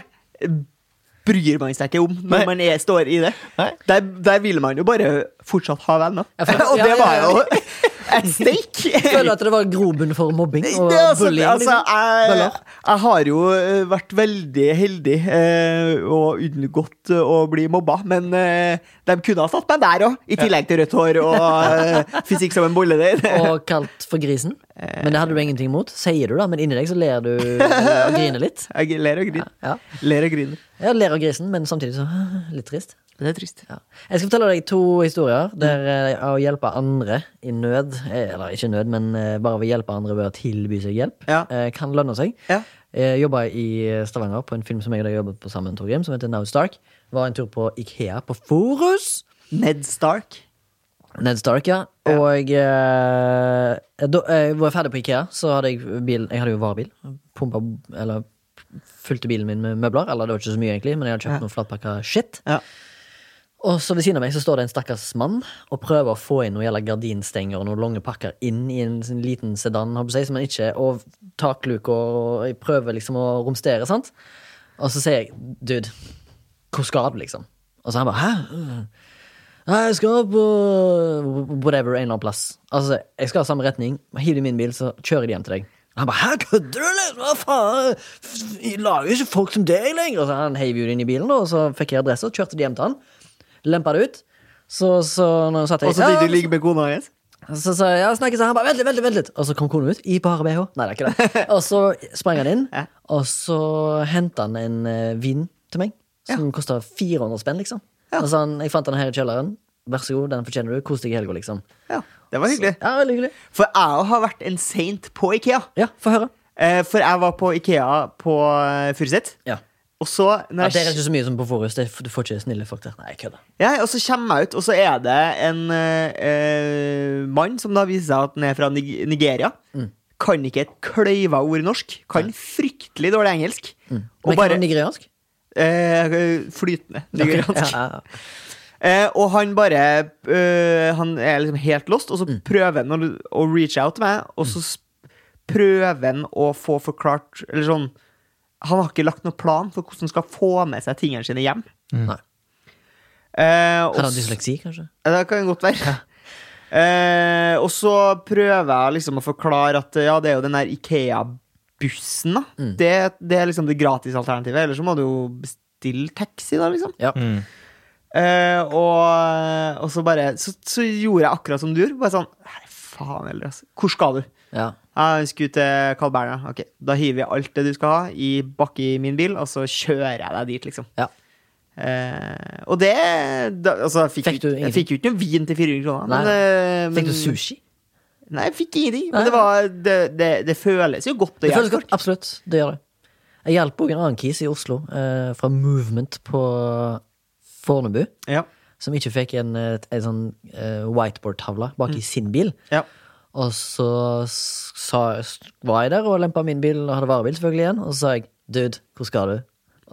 Speaker 2: bryr man seg ikke om når
Speaker 3: Nei.
Speaker 2: man er, står i det.
Speaker 3: Nei.
Speaker 2: Der, der vil man jo bare fortsatt ha venner.
Speaker 1: Ja, for-
Speaker 2: og
Speaker 1: ja,
Speaker 2: det
Speaker 1: ja,
Speaker 2: var
Speaker 1: ja.
Speaker 2: jo et steak.
Speaker 1: føler du at det var grobunn for mobbing
Speaker 2: Det,
Speaker 1: og
Speaker 2: altså,
Speaker 1: bullying?
Speaker 2: altså,
Speaker 1: liksom?
Speaker 2: jeg,
Speaker 1: Bøller?
Speaker 2: jeg har jo eh, vært veldig heldig eh, og unngått eh, å bli mobba, men eh, de kunne ha satt meg der òg, i tillegg til rødt hår og eh, fysikk som en bolle der.
Speaker 1: og kalt for grisen. Men det hadde du ingenting imot. Sier du da, men inni deg så ler du og griner litt.
Speaker 2: Jeg ler og griner.
Speaker 1: Ja.
Speaker 2: Ler og griner.
Speaker 1: Jeg ler av grisen, men samtidig så litt trist.
Speaker 2: Det er trist.
Speaker 1: Ja. Jeg skal fortelle deg to historier der eh, å hjelpe andre i nød, eh, eller ikke nød, men eh, bare ved å hjelpe andre ved å tilby seg hjelp,
Speaker 2: Ja.
Speaker 1: eh, kan lønne seg.
Speaker 2: Ja.
Speaker 1: Jeg jobba i eh, Stavanger på en film som jeg og deg jobbet på sammen, Torgrim, som heter Now Stark. Var en tur på Ikea på Forus.
Speaker 2: Ned Stark.
Speaker 1: Ned Stark, ja. Og eh, da jeg var ferdig på Ikea, så hadde jeg bil Jeg hadde jo varebil. Pumpa Eller fylte bilen min med møbler. Eller det var ikke så mye, egentlig, men jeg hadde kjøpt noe flatpakka shit.
Speaker 2: Ja.
Speaker 1: Og så ved siden av meg så står det en stakkars mann og prøver å få inn noen jævla gardinstenger og noen lange pakker inn i en sånn liten sedan, håper jeg, som han ikke Og takluke og jeg prøver liksom å romstere, sant? Og så sier jeg, dude, hvor skal du, liksom? Og så han bare, hæ? Nei, jeg skal på whatever, en eller annen plass. Altså, jeg skal i samme retning. Hiv i min bil, så kjører jeg hjem til deg. Han bare 'Hæ, kødder du, eller? Hva faen? Vi lager jo ikke folk som deg lenger!' Og så han heiv jo det inn i bilen, da, og så fikk jeg adresse, og kjørte de hjem til han. Lempa det ut. Så, så når hun satt jeg
Speaker 2: Og så
Speaker 1: ja, altså-
Speaker 2: fikk du ligge med kona hennes?
Speaker 1: så sa jeg ja, snakkes, han bare vent litt, vent litt, vent litt. Og så kom kona ut i bare BH. Nei, det er ikke det. Og så sprang han inn,
Speaker 2: Ja.
Speaker 1: og så henta han en eh, vin til meg som kosta 400 spenn, liksom.
Speaker 2: Ja.
Speaker 1: Og så han, jeg fant den her i kjelleren. Vær så god, den fortjener du. Kos deg i helga, liksom.
Speaker 2: Ja, det var hyggelig.
Speaker 1: Ja, veldig hyggelig.
Speaker 2: For jeg har vært en saint på Ikea.
Speaker 1: Ja, få høre.
Speaker 2: Eh, For jeg var på Ikea på eh, Furuset.
Speaker 1: Ja.
Speaker 2: Og så,
Speaker 1: Ja,
Speaker 2: når
Speaker 1: det er
Speaker 2: jeg,
Speaker 1: ikke så mye som på Forus. Det, du får ikke snille folk der. Nei, jeg kødder.
Speaker 2: ja, og så kommer jeg ut, og så er det en eh, eh, mann som da viser seg at han er fra Nig Nigeria.
Speaker 1: Mm.
Speaker 2: Kan ikke et kløyva ord norsk. Kan fryktelig dårlig engelsk.
Speaker 1: Mm. Men
Speaker 2: Og
Speaker 1: bare,
Speaker 2: bare
Speaker 1: nigeriansk?
Speaker 2: eh, flytende nigeriansk.
Speaker 1: Ja, ja, ja.
Speaker 2: Eh, og han bare eh, Han er liksom helt lost, og så
Speaker 1: Mm.
Speaker 2: prøver han å, å reach out til meg, og så s- prøver han å få forklart Eller sånn Han har ikke lagt noen plan for hvordan han skal få med seg tingene sine hjem.
Speaker 1: Nei.
Speaker 2: Eh, og
Speaker 1: Hadde han liksom
Speaker 2: s-
Speaker 1: dysleksi, kanskje?
Speaker 2: ja, Det kan godt være. Eh, og så prøver jeg liksom å forklare at ja, det er jo den der Ikea-bussen, da. Det, det er liksom det gratisalternativet. Eller så må du jo bestille taxi, da, liksom.
Speaker 1: Ja.
Speaker 2: Eh, og, og så bare så, så gjorde jeg akkurat som du gjorde. Bare sånn Nei, faen heller, altså. Hvor skal du?
Speaker 1: ja.
Speaker 2: Jeg skulle til Carl Berner. Ok, da hiver vi alt det du skal ha, i bakke i min bil, og så kjører jeg deg dit, liksom.
Speaker 1: Ja.
Speaker 2: Eh, og det da, Altså, jeg fikk,
Speaker 1: Fikk du
Speaker 2: jo- jeg
Speaker 1: ingenting?
Speaker 2: fikk jo ikke noe vin til 400 kroner.
Speaker 1: Nei.
Speaker 2: Men, eh,
Speaker 1: Fikk du
Speaker 2: men-
Speaker 1: sushi?
Speaker 2: Nei, jeg fikk ingenting.
Speaker 1: Nei.
Speaker 2: Men det, var, det, det, det føles jo godt. å
Speaker 1: Det føles
Speaker 2: hjelpe
Speaker 1: godt. Absolutt. Det gjør det. Jeg hjalp òg en annen kis i Oslo, eh, fra Movement på Fornebu,
Speaker 2: folk. Ja.
Speaker 1: som ikke fikk en, eh, en sånn eh, whiteboard-tavle bak i sin bil.
Speaker 2: ja.
Speaker 1: Og så s- sa, s- var jeg der og lempa min bil og hadde varebil selvfølgelig igjen. Og så sa jeg 'dude, hvor skal du?'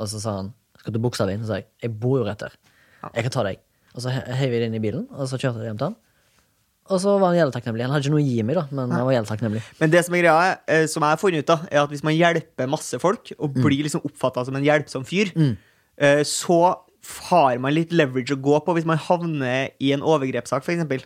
Speaker 1: Og så sa han 'skal du buksa din?' Så sa jeg 'jeg bor jo rett der. Jeg kan ta deg'. Og så he- heiv jeg det inn i bilen, og så kjørte jeg hjem til han. Og så var han jævlig takknemlig. Han hadde ikke noe å gi meg, da, men han var jævlig takknemlig.
Speaker 2: Men det som er greia, eh, som jeg har funnet ut av, er at hvis man hjelper masse folk, og
Speaker 1: Mm.
Speaker 2: blir liksom oppfatta som en hjelpsom fyr, eh, så har man litt leverage å gå på hvis man havner i en overgrepssak, f.eks.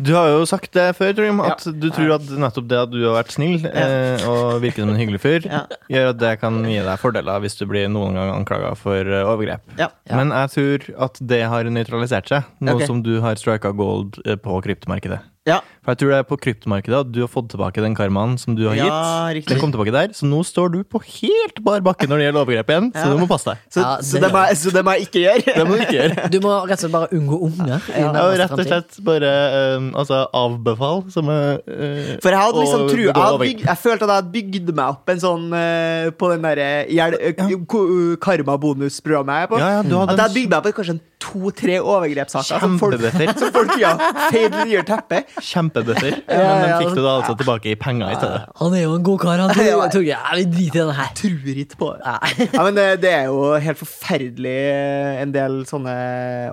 Speaker 3: Du har jo sagt det før, Torgrim, at du tror at nettopp det at du har vært snill eh, og virker som en hyggelig fyr,
Speaker 2: Ja.
Speaker 3: gjør at det kan gi deg fordeler hvis du blir noen gang anklaga for eh, overgrep.
Speaker 2: Ja.
Speaker 3: Men jeg tror at det har nøytralisert seg, nå
Speaker 2: Ok.
Speaker 3: som du har strika gold eh, på kryptomarkedet.
Speaker 2: Ja.
Speaker 3: For jeg tror det er på kryptomarkedet at du har fått tilbake den karmaen som du har
Speaker 2: Ja,
Speaker 3: gitt.
Speaker 2: riktig.
Speaker 3: Den kom tilbake der, Så nå står du på helt bar bakke når det gjelder overgrep igjen, så
Speaker 2: Ja.
Speaker 3: du må passe deg.
Speaker 2: Så,
Speaker 1: Ja, det-
Speaker 2: så, det må, jeg- så det må jeg ikke gjøre.
Speaker 3: Det må du ikke gjøre.
Speaker 1: Du må rett og slett bare unngå unger. i
Speaker 3: Ja, og
Speaker 1: nærmeste
Speaker 3: rett og
Speaker 1: fremtid.
Speaker 3: slett bare eh, altså, avbefal som er eh,
Speaker 2: For jeg hadde
Speaker 3: å
Speaker 2: liksom tru,
Speaker 3: begå
Speaker 2: jeg, hadde
Speaker 3: overgrep.
Speaker 2: bygd, jeg følte at jeg hadde bygd meg opp en sånn eh, på den derre hjel- eh, ko- eh, karma-bonusprogrammet jeg er på.
Speaker 3: Ja, ja, du hadde
Speaker 2: at jeg
Speaker 3: en
Speaker 2: hadde bygd meg opp i kanskje en to-tre overgrepssaker. Som folk,
Speaker 3: Kjempebøtter.
Speaker 2: som folk ja, feil nye teppe.
Speaker 3: Kjempebøtter.
Speaker 2: ja,
Speaker 3: Men den
Speaker 2: ja.
Speaker 3: fikk du da altså tilbake i penger i stedet.
Speaker 1: Han er jo en god kar, han. Tror,
Speaker 2: Ja.
Speaker 1: jeg tror, ja, vi driter i den her.
Speaker 2: Truer ikke på det.
Speaker 1: Ja.
Speaker 2: Ja, men eh, det er jo helt forferdelig eh, en del sånne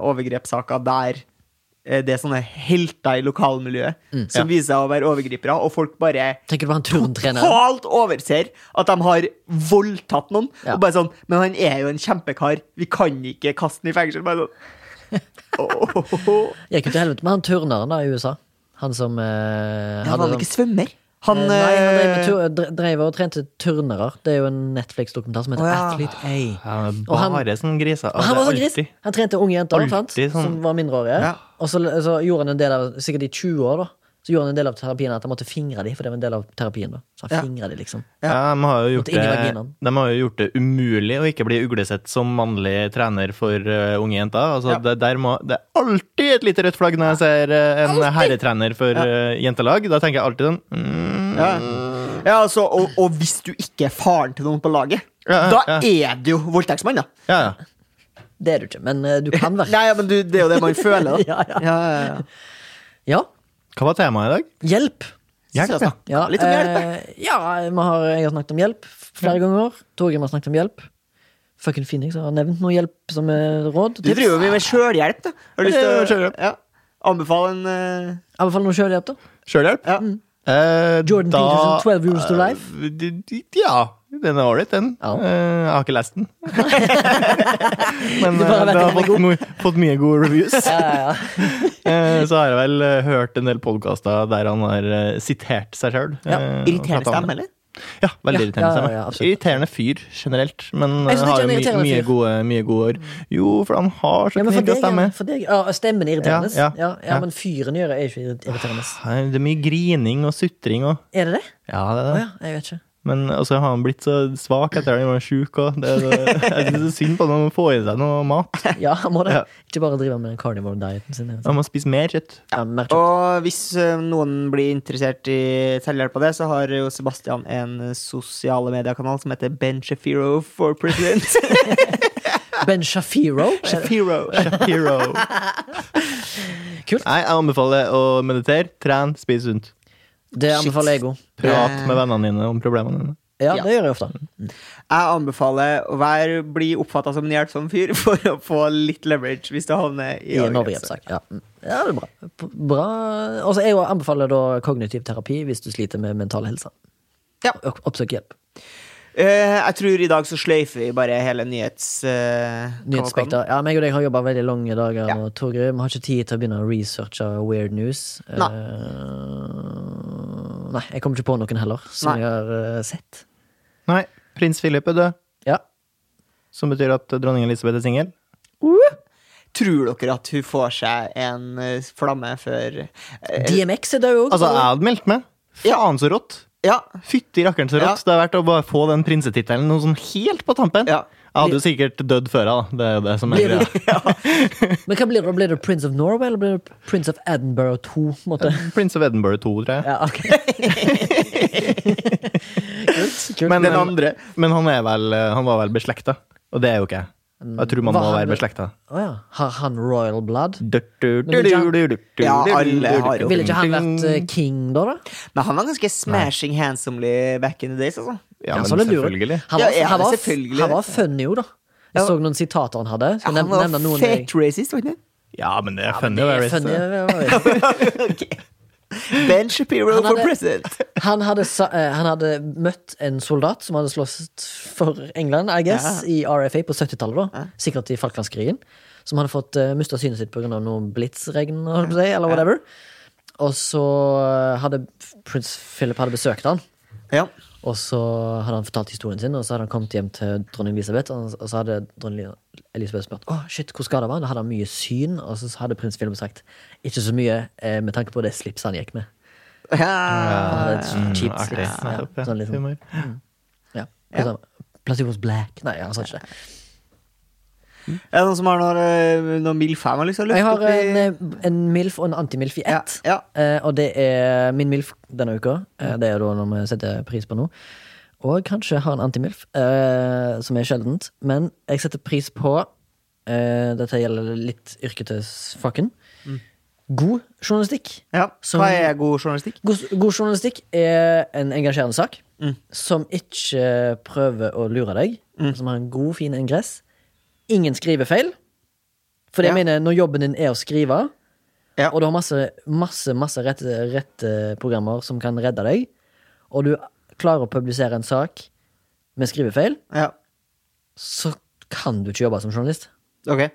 Speaker 2: overgrepssaker der eh, det er sånne helter i lokalmiljøet
Speaker 3: Mm,
Speaker 2: som viser seg å være overgripere, og folk bare
Speaker 1: Tenker du på han turntreneren?
Speaker 2: totalt overser at de har voldtatt noen.
Speaker 1: Ja.
Speaker 2: Og bare sånn, Men han er jo en kjempekar, vi kan ikke kaste han i fengsel. Bare sånn. Åh.
Speaker 1: Gikk jo til helvete med han turneren da, i USA. Han som eh,
Speaker 2: Ja, Han
Speaker 1: hadde
Speaker 2: var
Speaker 1: sånn-
Speaker 2: ikke svømmer. Han,
Speaker 1: Eh, Nei, han drev, med
Speaker 2: eh,
Speaker 1: tur dre- drev og trente turnere. Det er jo en Netflix-dokumentar som heter
Speaker 2: Å, ja.
Speaker 1: Athlete A.
Speaker 3: Ja, men
Speaker 1: Og han-
Speaker 3: Bare sånn griser.
Speaker 1: Og han var sånn gris.
Speaker 3: Alltid.
Speaker 1: Han trente unge jenter sant?
Speaker 3: Alltid sånn-
Speaker 1: som var mindreårige.
Speaker 2: Ja.
Speaker 1: Og så, så gjorde han en del av sikkert i 20 år da Så gjorde han en del av terapien at han måtte fingre dem, for det var en del av terapien. da Så han
Speaker 2: Ja.
Speaker 1: fingret de liksom
Speaker 3: Ja, de, har jo gjort
Speaker 1: Måtte inn i
Speaker 3: det,
Speaker 1: vaginaen.
Speaker 3: de har jo gjort det umulig å ikke bli uglesett som mannlig trener for eh, unge jenter. Altså,
Speaker 2: Ja.
Speaker 3: det, der må, det er alltid et lite rødt flagg når jeg ser eh, en herretrener for eh, jentelag. Da tenker jeg alltid sånn mm,
Speaker 2: ja. Ja, altså, og, og hvis du ikke er faren til noen på laget,
Speaker 3: Ja,
Speaker 2: da
Speaker 3: ja,
Speaker 2: er du jo voldtektsmann, da.
Speaker 3: Ja, ja.
Speaker 1: Det er du ikke, men eh, du kan være
Speaker 2: Nei, ja, men du, det er jo det man føler, da.
Speaker 1: Ja, ja.
Speaker 2: ja, ja.
Speaker 1: Ja.
Speaker 3: Hva var temaet i dag?
Speaker 1: Hjelp!
Speaker 2: Så jeg snakker
Speaker 1: Ja,
Speaker 2: Litt om hjelp. jeg.
Speaker 1: eh, ja vi har, jeg har snakket om hjelp flere ganger. Torgrim har snakket om hjelp. Fucking Phoenix har nevnt noe hjelp som eh, råd.
Speaker 2: Du driver jo mye med sjølhjelp, da. Har du lyst
Speaker 3: Ja,
Speaker 2: til å
Speaker 3: selvhjelp.
Speaker 2: ja. anbefale en eh,
Speaker 1: I hvert fall noe sjølhjelp, da. Mm.
Speaker 3: Sjølhjelp?
Speaker 2: ja.
Speaker 3: Eh,
Speaker 1: Jordan Peterson, 12 Rules to Life?
Speaker 3: Eh, d- d- Ja. Den er ålreit, den.
Speaker 4: Ja.
Speaker 3: Eh, jeg har ikke lest den. Men
Speaker 1: Du
Speaker 3: eh,
Speaker 1: bare vet
Speaker 3: det
Speaker 1: at den
Speaker 3: har
Speaker 1: er
Speaker 3: fått, mye- fått mye gode reviews.
Speaker 4: Ja, ja,
Speaker 3: Eh, så har jeg vel eh, hørt en del podkaster der han har eh, sitert seg eh, sjøl.
Speaker 2: Irriterende stemme, eller?
Speaker 3: Ja, veldig irriterende
Speaker 4: ja,
Speaker 3: stemme.
Speaker 4: ja, absolutt.
Speaker 3: irriterende fyr generelt, men
Speaker 1: Jeg synes ikke
Speaker 3: eh, har jo
Speaker 1: han er
Speaker 3: mye,
Speaker 1: irriterende
Speaker 3: mye,
Speaker 1: fyr.
Speaker 3: gode, mye gode år. Jo, for han har så
Speaker 1: Ja, men for
Speaker 3: knirka
Speaker 1: deg,
Speaker 3: stemme.
Speaker 1: er- for deg, ja, stemmen er irriterende. Ja,
Speaker 3: Ja, ja,
Speaker 1: ja,
Speaker 3: ja. Ah.
Speaker 1: men fyren gjør er jo ikke irriterende.
Speaker 3: Nei, Det er mye grining og sutring og
Speaker 1: Er det det?
Speaker 3: Ja, det er
Speaker 1: Å
Speaker 3: det.
Speaker 1: ja, jeg vet ikke.
Speaker 3: Men også har han blitt så svak etter at han var sjuk. og Det, det, jeg synes det er synd på han. Han må få i seg noe mat.
Speaker 1: Ja, han må det.
Speaker 3: Ja.
Speaker 1: Ikke bare drive med den carnivore dieten sin. Ja,
Speaker 3: Han må spise mer kjøtt.
Speaker 1: merker-
Speaker 2: Og hvis ø, noen blir interessert i selvhjelp av det, så har jo Sebastian en sosiale mediekanal som heter Ben Shapiro for president.
Speaker 1: ben Shafiro.
Speaker 2: Shapiro.
Speaker 3: Shapiro.
Speaker 1: Kult.
Speaker 3: Nei, jeg anbefaler å meditere. Tren, spis sunt.
Speaker 1: Det anbefaler jeg òg.
Speaker 3: Prat med vennene dine om problemene dine.
Speaker 1: Ja,
Speaker 2: Ja.
Speaker 1: det gjør jeg ofte.
Speaker 2: Jeg anbefaler å være, bli oppfatta som en hjelpsom fyr for å få litt leverage hvis du havner
Speaker 1: I
Speaker 2: i
Speaker 1: en
Speaker 2: overgrepssak.
Speaker 1: overgrepssak. Ja. ja, det er bra. P- bra. Altså, jeg også anbefaler da kognitiv terapi hvis du sliter med mental helse.
Speaker 2: Ja.
Speaker 1: Opp- Oppsøk hjelp.
Speaker 2: Eh, jeg tror i dag så sløyfer vi bare hele nyhets... eh,
Speaker 1: Nyhetsspekter. Ja, meg og deg har jobba veldig lange dager
Speaker 2: Ja.
Speaker 1: nå, Torgrim. Vi har ikke tid til å begynne å researche weird news. Eh,
Speaker 2: Nei.
Speaker 1: nei, jeg kom ikke på noen heller, som
Speaker 2: Nei.
Speaker 1: jeg har eh, sett.
Speaker 3: Nei, prins Philip er død.
Speaker 1: Ja.
Speaker 3: Som betyr at dronning Elisabeth er singel.
Speaker 2: Tror dere at hun får seg en eh, flamme før eh,
Speaker 1: DMX er død òg.
Speaker 3: Altså, jeg hadde meldt meg. Faen, så rått!
Speaker 2: Ja.
Speaker 3: Fytti rakkeren så
Speaker 2: Ja.
Speaker 3: rått det har vært å bare få den prinsetittelen noe sånn helt på tampen.
Speaker 2: Ja.
Speaker 3: Jeg hadde jo sikkert dødd før jeg, da. Det er jo det som er
Speaker 1: Blir
Speaker 3: greia.
Speaker 1: du, Men hva blir det? Blir det Prince of Norway eller blir det Prince of Edinburgh 2? på en Måte?
Speaker 3: Prince of Edinburgh 2, tror jeg.
Speaker 1: Ja, ok Kult, kult.
Speaker 3: Men,
Speaker 2: Den andre.
Speaker 3: men han, er vel, han var vel beslekta, og det er jo ikke jeg. Jeg tror man
Speaker 1: Hva
Speaker 3: må
Speaker 1: han
Speaker 3: være
Speaker 1: ble-
Speaker 3: beslekta.
Speaker 1: Å ja. Har han royal blood?
Speaker 2: Ja, alle har jo-
Speaker 1: Ville ikke han vært eh, king da? da?
Speaker 2: Men han var ganske smashing handsomely back in the days, altså.
Speaker 3: Ja,
Speaker 1: Ja,
Speaker 3: men
Speaker 1: sånn er det jo.
Speaker 3: selvfølgelig.
Speaker 1: Han
Speaker 2: Ja,
Speaker 1: var,
Speaker 2: ja,
Speaker 1: han var,
Speaker 2: selvfølgelig.
Speaker 1: han var funny jo, da. Jeg
Speaker 2: Ja.
Speaker 1: så noen sitater han hadde. Skal jeg
Speaker 2: Han
Speaker 1: nevne,
Speaker 2: var
Speaker 1: nevne noen jeg-
Speaker 2: fat racist, var han ikke?
Speaker 3: Ja, men det er
Speaker 1: Det
Speaker 3: funny. å
Speaker 1: er
Speaker 3: være
Speaker 1: funny,
Speaker 3: racist.
Speaker 1: ja, ja, ja.
Speaker 2: Ben Shapiro
Speaker 1: Han
Speaker 2: for
Speaker 1: hadde-
Speaker 2: president.
Speaker 1: Han hadde, sa- eh, han hadde møtt en soldat som hadde slåss for England, I guess, i RFA på 70-tallet. da Sikkert i Falklandskrigen. Som hadde fått uh, mista synet sitt pga. noe blitsregn holdt jeg på å si, eller whatever. Og så eh, hadde prins Philip hadde besøkt han
Speaker 2: Ja.
Speaker 1: Og så hadde han fortalt historien sin, og så hadde han kommet hjem til dronning Elisabeth. Og og så hadde dronning Elisabeth spurt Åh, shit, hvor skada var han. Da hadde han mye syn, og så hadde prins Philip sagt ikke så mye eh, med tanke på det slipset han gikk med.
Speaker 2: Ja.
Speaker 1: Han hadde et
Speaker 3: Mm,
Speaker 1: cheap
Speaker 3: artig.
Speaker 1: slips.
Speaker 3: Nettopp,
Speaker 1: Ja,
Speaker 3: ja.
Speaker 1: sånn litt sånn-
Speaker 3: Humor.
Speaker 1: ja. Og så, Placebo was black. Nei, han sa ikke det.
Speaker 2: Er det noen som har noe, eh, noe mild fan man liksom
Speaker 1: Jeg har
Speaker 2: opp i-
Speaker 1: en, eh, en MILF og en antimilf i ett.
Speaker 2: Ja,
Speaker 1: Eh, og det er min MILF denne uka. Eh, det er jo da noe vi setter pris på nå. Og kanskje har en antimilf, eh, som er sjeldent. Men jeg setter pris på eh, Dette gjelder litt yrket til fakken. God journalistikk.
Speaker 2: Mm. ja.
Speaker 1: Som-
Speaker 2: Hva er god journalistikk?
Speaker 1: God, god journalistikk er en engasjerende sak
Speaker 2: Mm.
Speaker 1: som ikke prøver å lure deg. Som har en god, fin ingress. Ingen skrivefeil. For det
Speaker 2: Ja.
Speaker 1: jeg mener, når jobben din er å skrive,
Speaker 2: Ja.
Speaker 1: og du har masse, masse, masse rette, rette programmer som kan redde deg, og du klarer å publisere en sak med skrivefeil,
Speaker 2: Ja.
Speaker 1: så kan du ikke jobbe som journalist.
Speaker 2: Ok.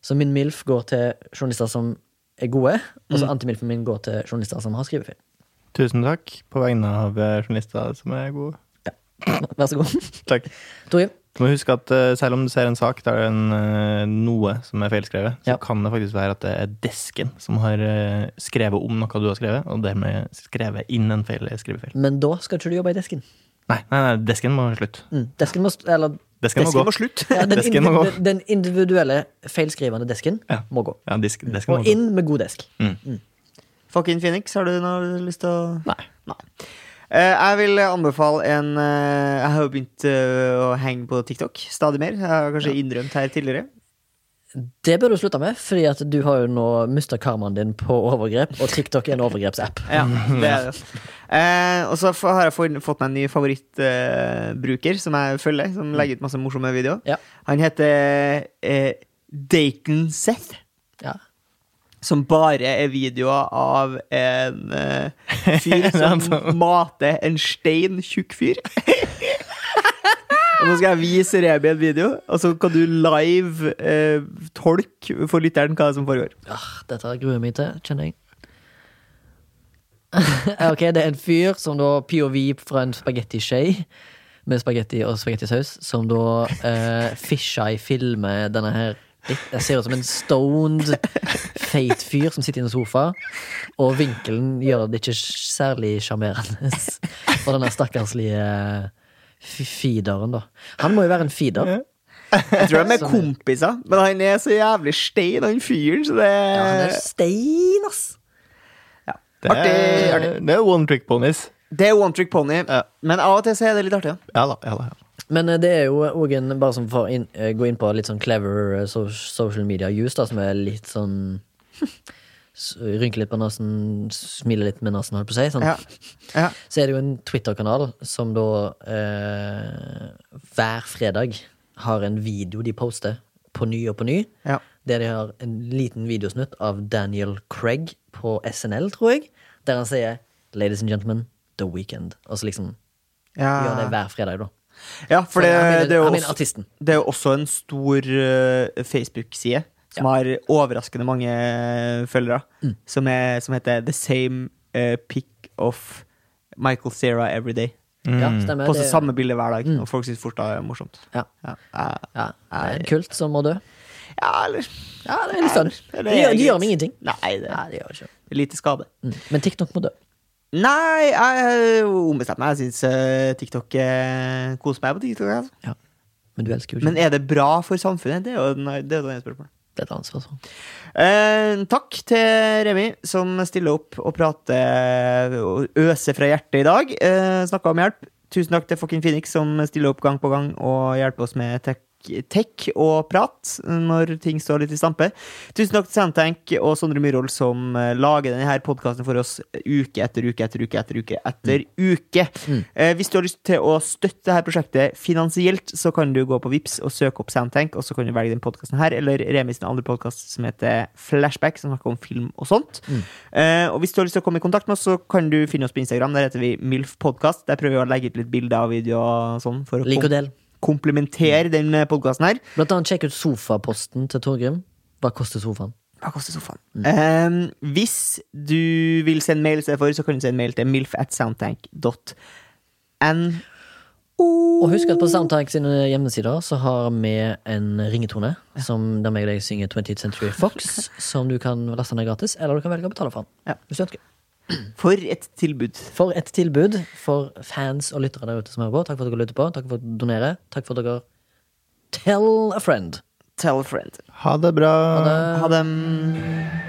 Speaker 1: Så min MILF går til journalister som er gode, og
Speaker 2: Mm.
Speaker 1: så antimilfen min går til journalister som har skrivefeil.
Speaker 3: Tusen takk på vegne av eh, journalister som er gode.
Speaker 1: Vær så god.
Speaker 3: Takk.
Speaker 1: Torgrim.
Speaker 3: Du må huske at eh, selv om du ser en sak der det er en, eh, noe som er feilskrevet, så
Speaker 1: Ja.
Speaker 3: kan det faktisk være at det er desken som har eh, skrevet om noe du har skrevet, og dermed skrevet inn en feil skrivefeil.
Speaker 1: Men da skal ikke du jobbe i desken.
Speaker 3: Nei, nei, nei desken må slutte.
Speaker 1: Mm. Desken må, st- eller,
Speaker 3: Desken må
Speaker 2: Desken
Speaker 3: gå.
Speaker 2: må slutte.
Speaker 1: ja, den,
Speaker 3: Desken må
Speaker 1: indiv- den-
Speaker 3: gå.
Speaker 1: den individuelle feilskrivende desken
Speaker 3: Ja.
Speaker 1: må gå.
Speaker 3: Ja, disk, desken må
Speaker 1: Og
Speaker 3: gå.
Speaker 1: inn med god desk.
Speaker 2: Fucking Phoenix, har du noe lyst til å
Speaker 3: Nei.
Speaker 2: Eh, jeg vil anbefale en eh, Jeg har jo begynt eh, å henge på TikTok stadig mer. Jeg har kanskje innrømt her tidligere.
Speaker 1: Det bør du slutte med, fordi at du har jo nå mista karmaen din på overgrep, og TikTok er en overgrepsapp.
Speaker 2: Ja, det er det. Eh, og så f- har jeg fått- fått meg en ny favorittbruker eh, bruker som jeg følger, som legger ut masse morsomme videoer.
Speaker 1: Ja.
Speaker 2: Han heter eh, Dayton Seth.
Speaker 1: Ja.
Speaker 2: som bare er videoer av en eh, fyr som mater en stein tjukk fyr. Og nå skal jeg vise Remi en video, og så kan du live eh, tolke for lytteren hva som foregår.
Speaker 1: Ah, dette gruer jeg meg til, kjenner jeg. ok, det er en fyr som da POV fra en spagettiskje med spagetti og spagettisaus, som da eh, fisheye filmer denne her litt- jeg ser ut som en stoned, feit fyr som sitter i en sofa. Og vinkelen gjør det ikke særlig sjarmerende for denne stakkarslige f- feederen, da. Han må jo være en feeder.
Speaker 2: Jeg tror de er
Speaker 1: Som-
Speaker 2: kompiser, men han er så jævlig stein, han fyren, så det
Speaker 1: Ja, han er stein, ass!
Speaker 3: Det
Speaker 2: Artig,
Speaker 3: er,
Speaker 2: artig.
Speaker 3: det er one trick ponies.
Speaker 2: Det er one trick pony, men av og til så er det litt artig. ja.
Speaker 3: Ja da, ja da. ja da.
Speaker 1: Men eh, det er jo òg en Bare som for inn, eh, gå inn på litt sånn clever eh, so social media use, da, som er litt sånn s- Rynke litt på nesen, smile litt med nesen, holdt på å si. Sånn.
Speaker 2: Ja. Ja.
Speaker 1: Så er det jo en Twitter-kanal som da eh, hver fredag har en video de poster på ny og på ny.
Speaker 2: Ja.
Speaker 1: Der de har en liten videosnutt av Daniel Craig på SNL, tror jeg. Der han sier 'Ladies and gentlemen, The Weekend'. Og så liksom gjør det hver fredag, da.
Speaker 2: Ja, Ah. for det,
Speaker 1: Så han mener-
Speaker 2: det, er jo
Speaker 1: han mener
Speaker 2: også,
Speaker 1: artisten.
Speaker 2: det er jo også en stor eh, Facebook-side som har overraskende mange eh, følgere,
Speaker 1: Mm.
Speaker 2: som, er, som heter The Same eh, Pick of Michael Cera Every Day.
Speaker 1: Ja, stemmer.
Speaker 2: Poster
Speaker 1: det-
Speaker 2: samme bilde hver dag, og folk syns fort det er morsomt.
Speaker 1: Ja.
Speaker 2: Ja, eh,
Speaker 1: Ja, det er en kult som må dø.
Speaker 2: ja eller
Speaker 1: Ja, det er litt fun.
Speaker 2: eller
Speaker 1: Det gjør,
Speaker 2: er
Speaker 1: det
Speaker 2: greit.
Speaker 1: gjør meg ingenting.
Speaker 2: Nei, det
Speaker 1: Nei, det gjør ikke.
Speaker 2: er lite skade.
Speaker 1: Mm. Men TikTok må dø.
Speaker 2: Nei, jeg ombestemmer meg. Jeg syns TikTok eh, koser meg på TikTok. Altså.
Speaker 1: Ja. Men du elsker jo ikke
Speaker 2: Men er det bra for samfunnet? Det er jo nei, det er jo det ene spørsmålet.
Speaker 1: det er et annet spørsmål.
Speaker 2: Eh, takk til Remi som stiller opp og prater og øser fra hjertet i dag. Eh, Snakka om hjelp. Tusen takk til fucking Phoenix som stiller opp gang på gang og hjelper oss med tech, tech og prat eh, når ting står litt i stampe. Tusen takk til Santank og Sondre Myhrvold som eh, lager denne her podkasten for oss uke etter uke etter uke etter uke. etter uke. Eh, hvis du har lyst til å støtte dette prosjektet finansielt, så kan du gå på Vips og søke opp Soundtank, og så kan du velge den podkasten her, eller Remi sin andre podkast som heter Flashback, som snakker om film og sånt. Eh, og hvis du har lyst til å komme i kontakt med oss, så kan du finne oss på Instagram. Der heter vi MILFpodkast. Der prøver vi å legge ut litt bilder og videoer og sånn, for å
Speaker 1: Lik og
Speaker 2: kom
Speaker 1: del.
Speaker 2: komplementere den podkasten her.
Speaker 1: Blant annet sjekk ut sofaposten til Torgrim. Hva koster sofaen?
Speaker 2: Hva koster sofaen?
Speaker 1: Mm.
Speaker 2: Ehm, hvis du vil sende mail i stedet for, så kan du sende mail til milf at soundtank.no.
Speaker 1: Og husk at på Soundtank sine hjemmesider så har vi en ringetone som der meg og deg synger 20th Century Fox, som du kan laste ned gratis, eller du kan velge å betale for den.
Speaker 2: Ja.
Speaker 1: Hvis du ønsker.
Speaker 2: For et tilbud.
Speaker 1: For et tilbud for fans og lyttere der ute som hører på. Takk for at dere lytter på, takk for at dere donerer, takk for at dere Tell a friend.
Speaker 2: Tell a friend.
Speaker 1: Um,
Speaker 3: Ha det bra.
Speaker 2: Ha dem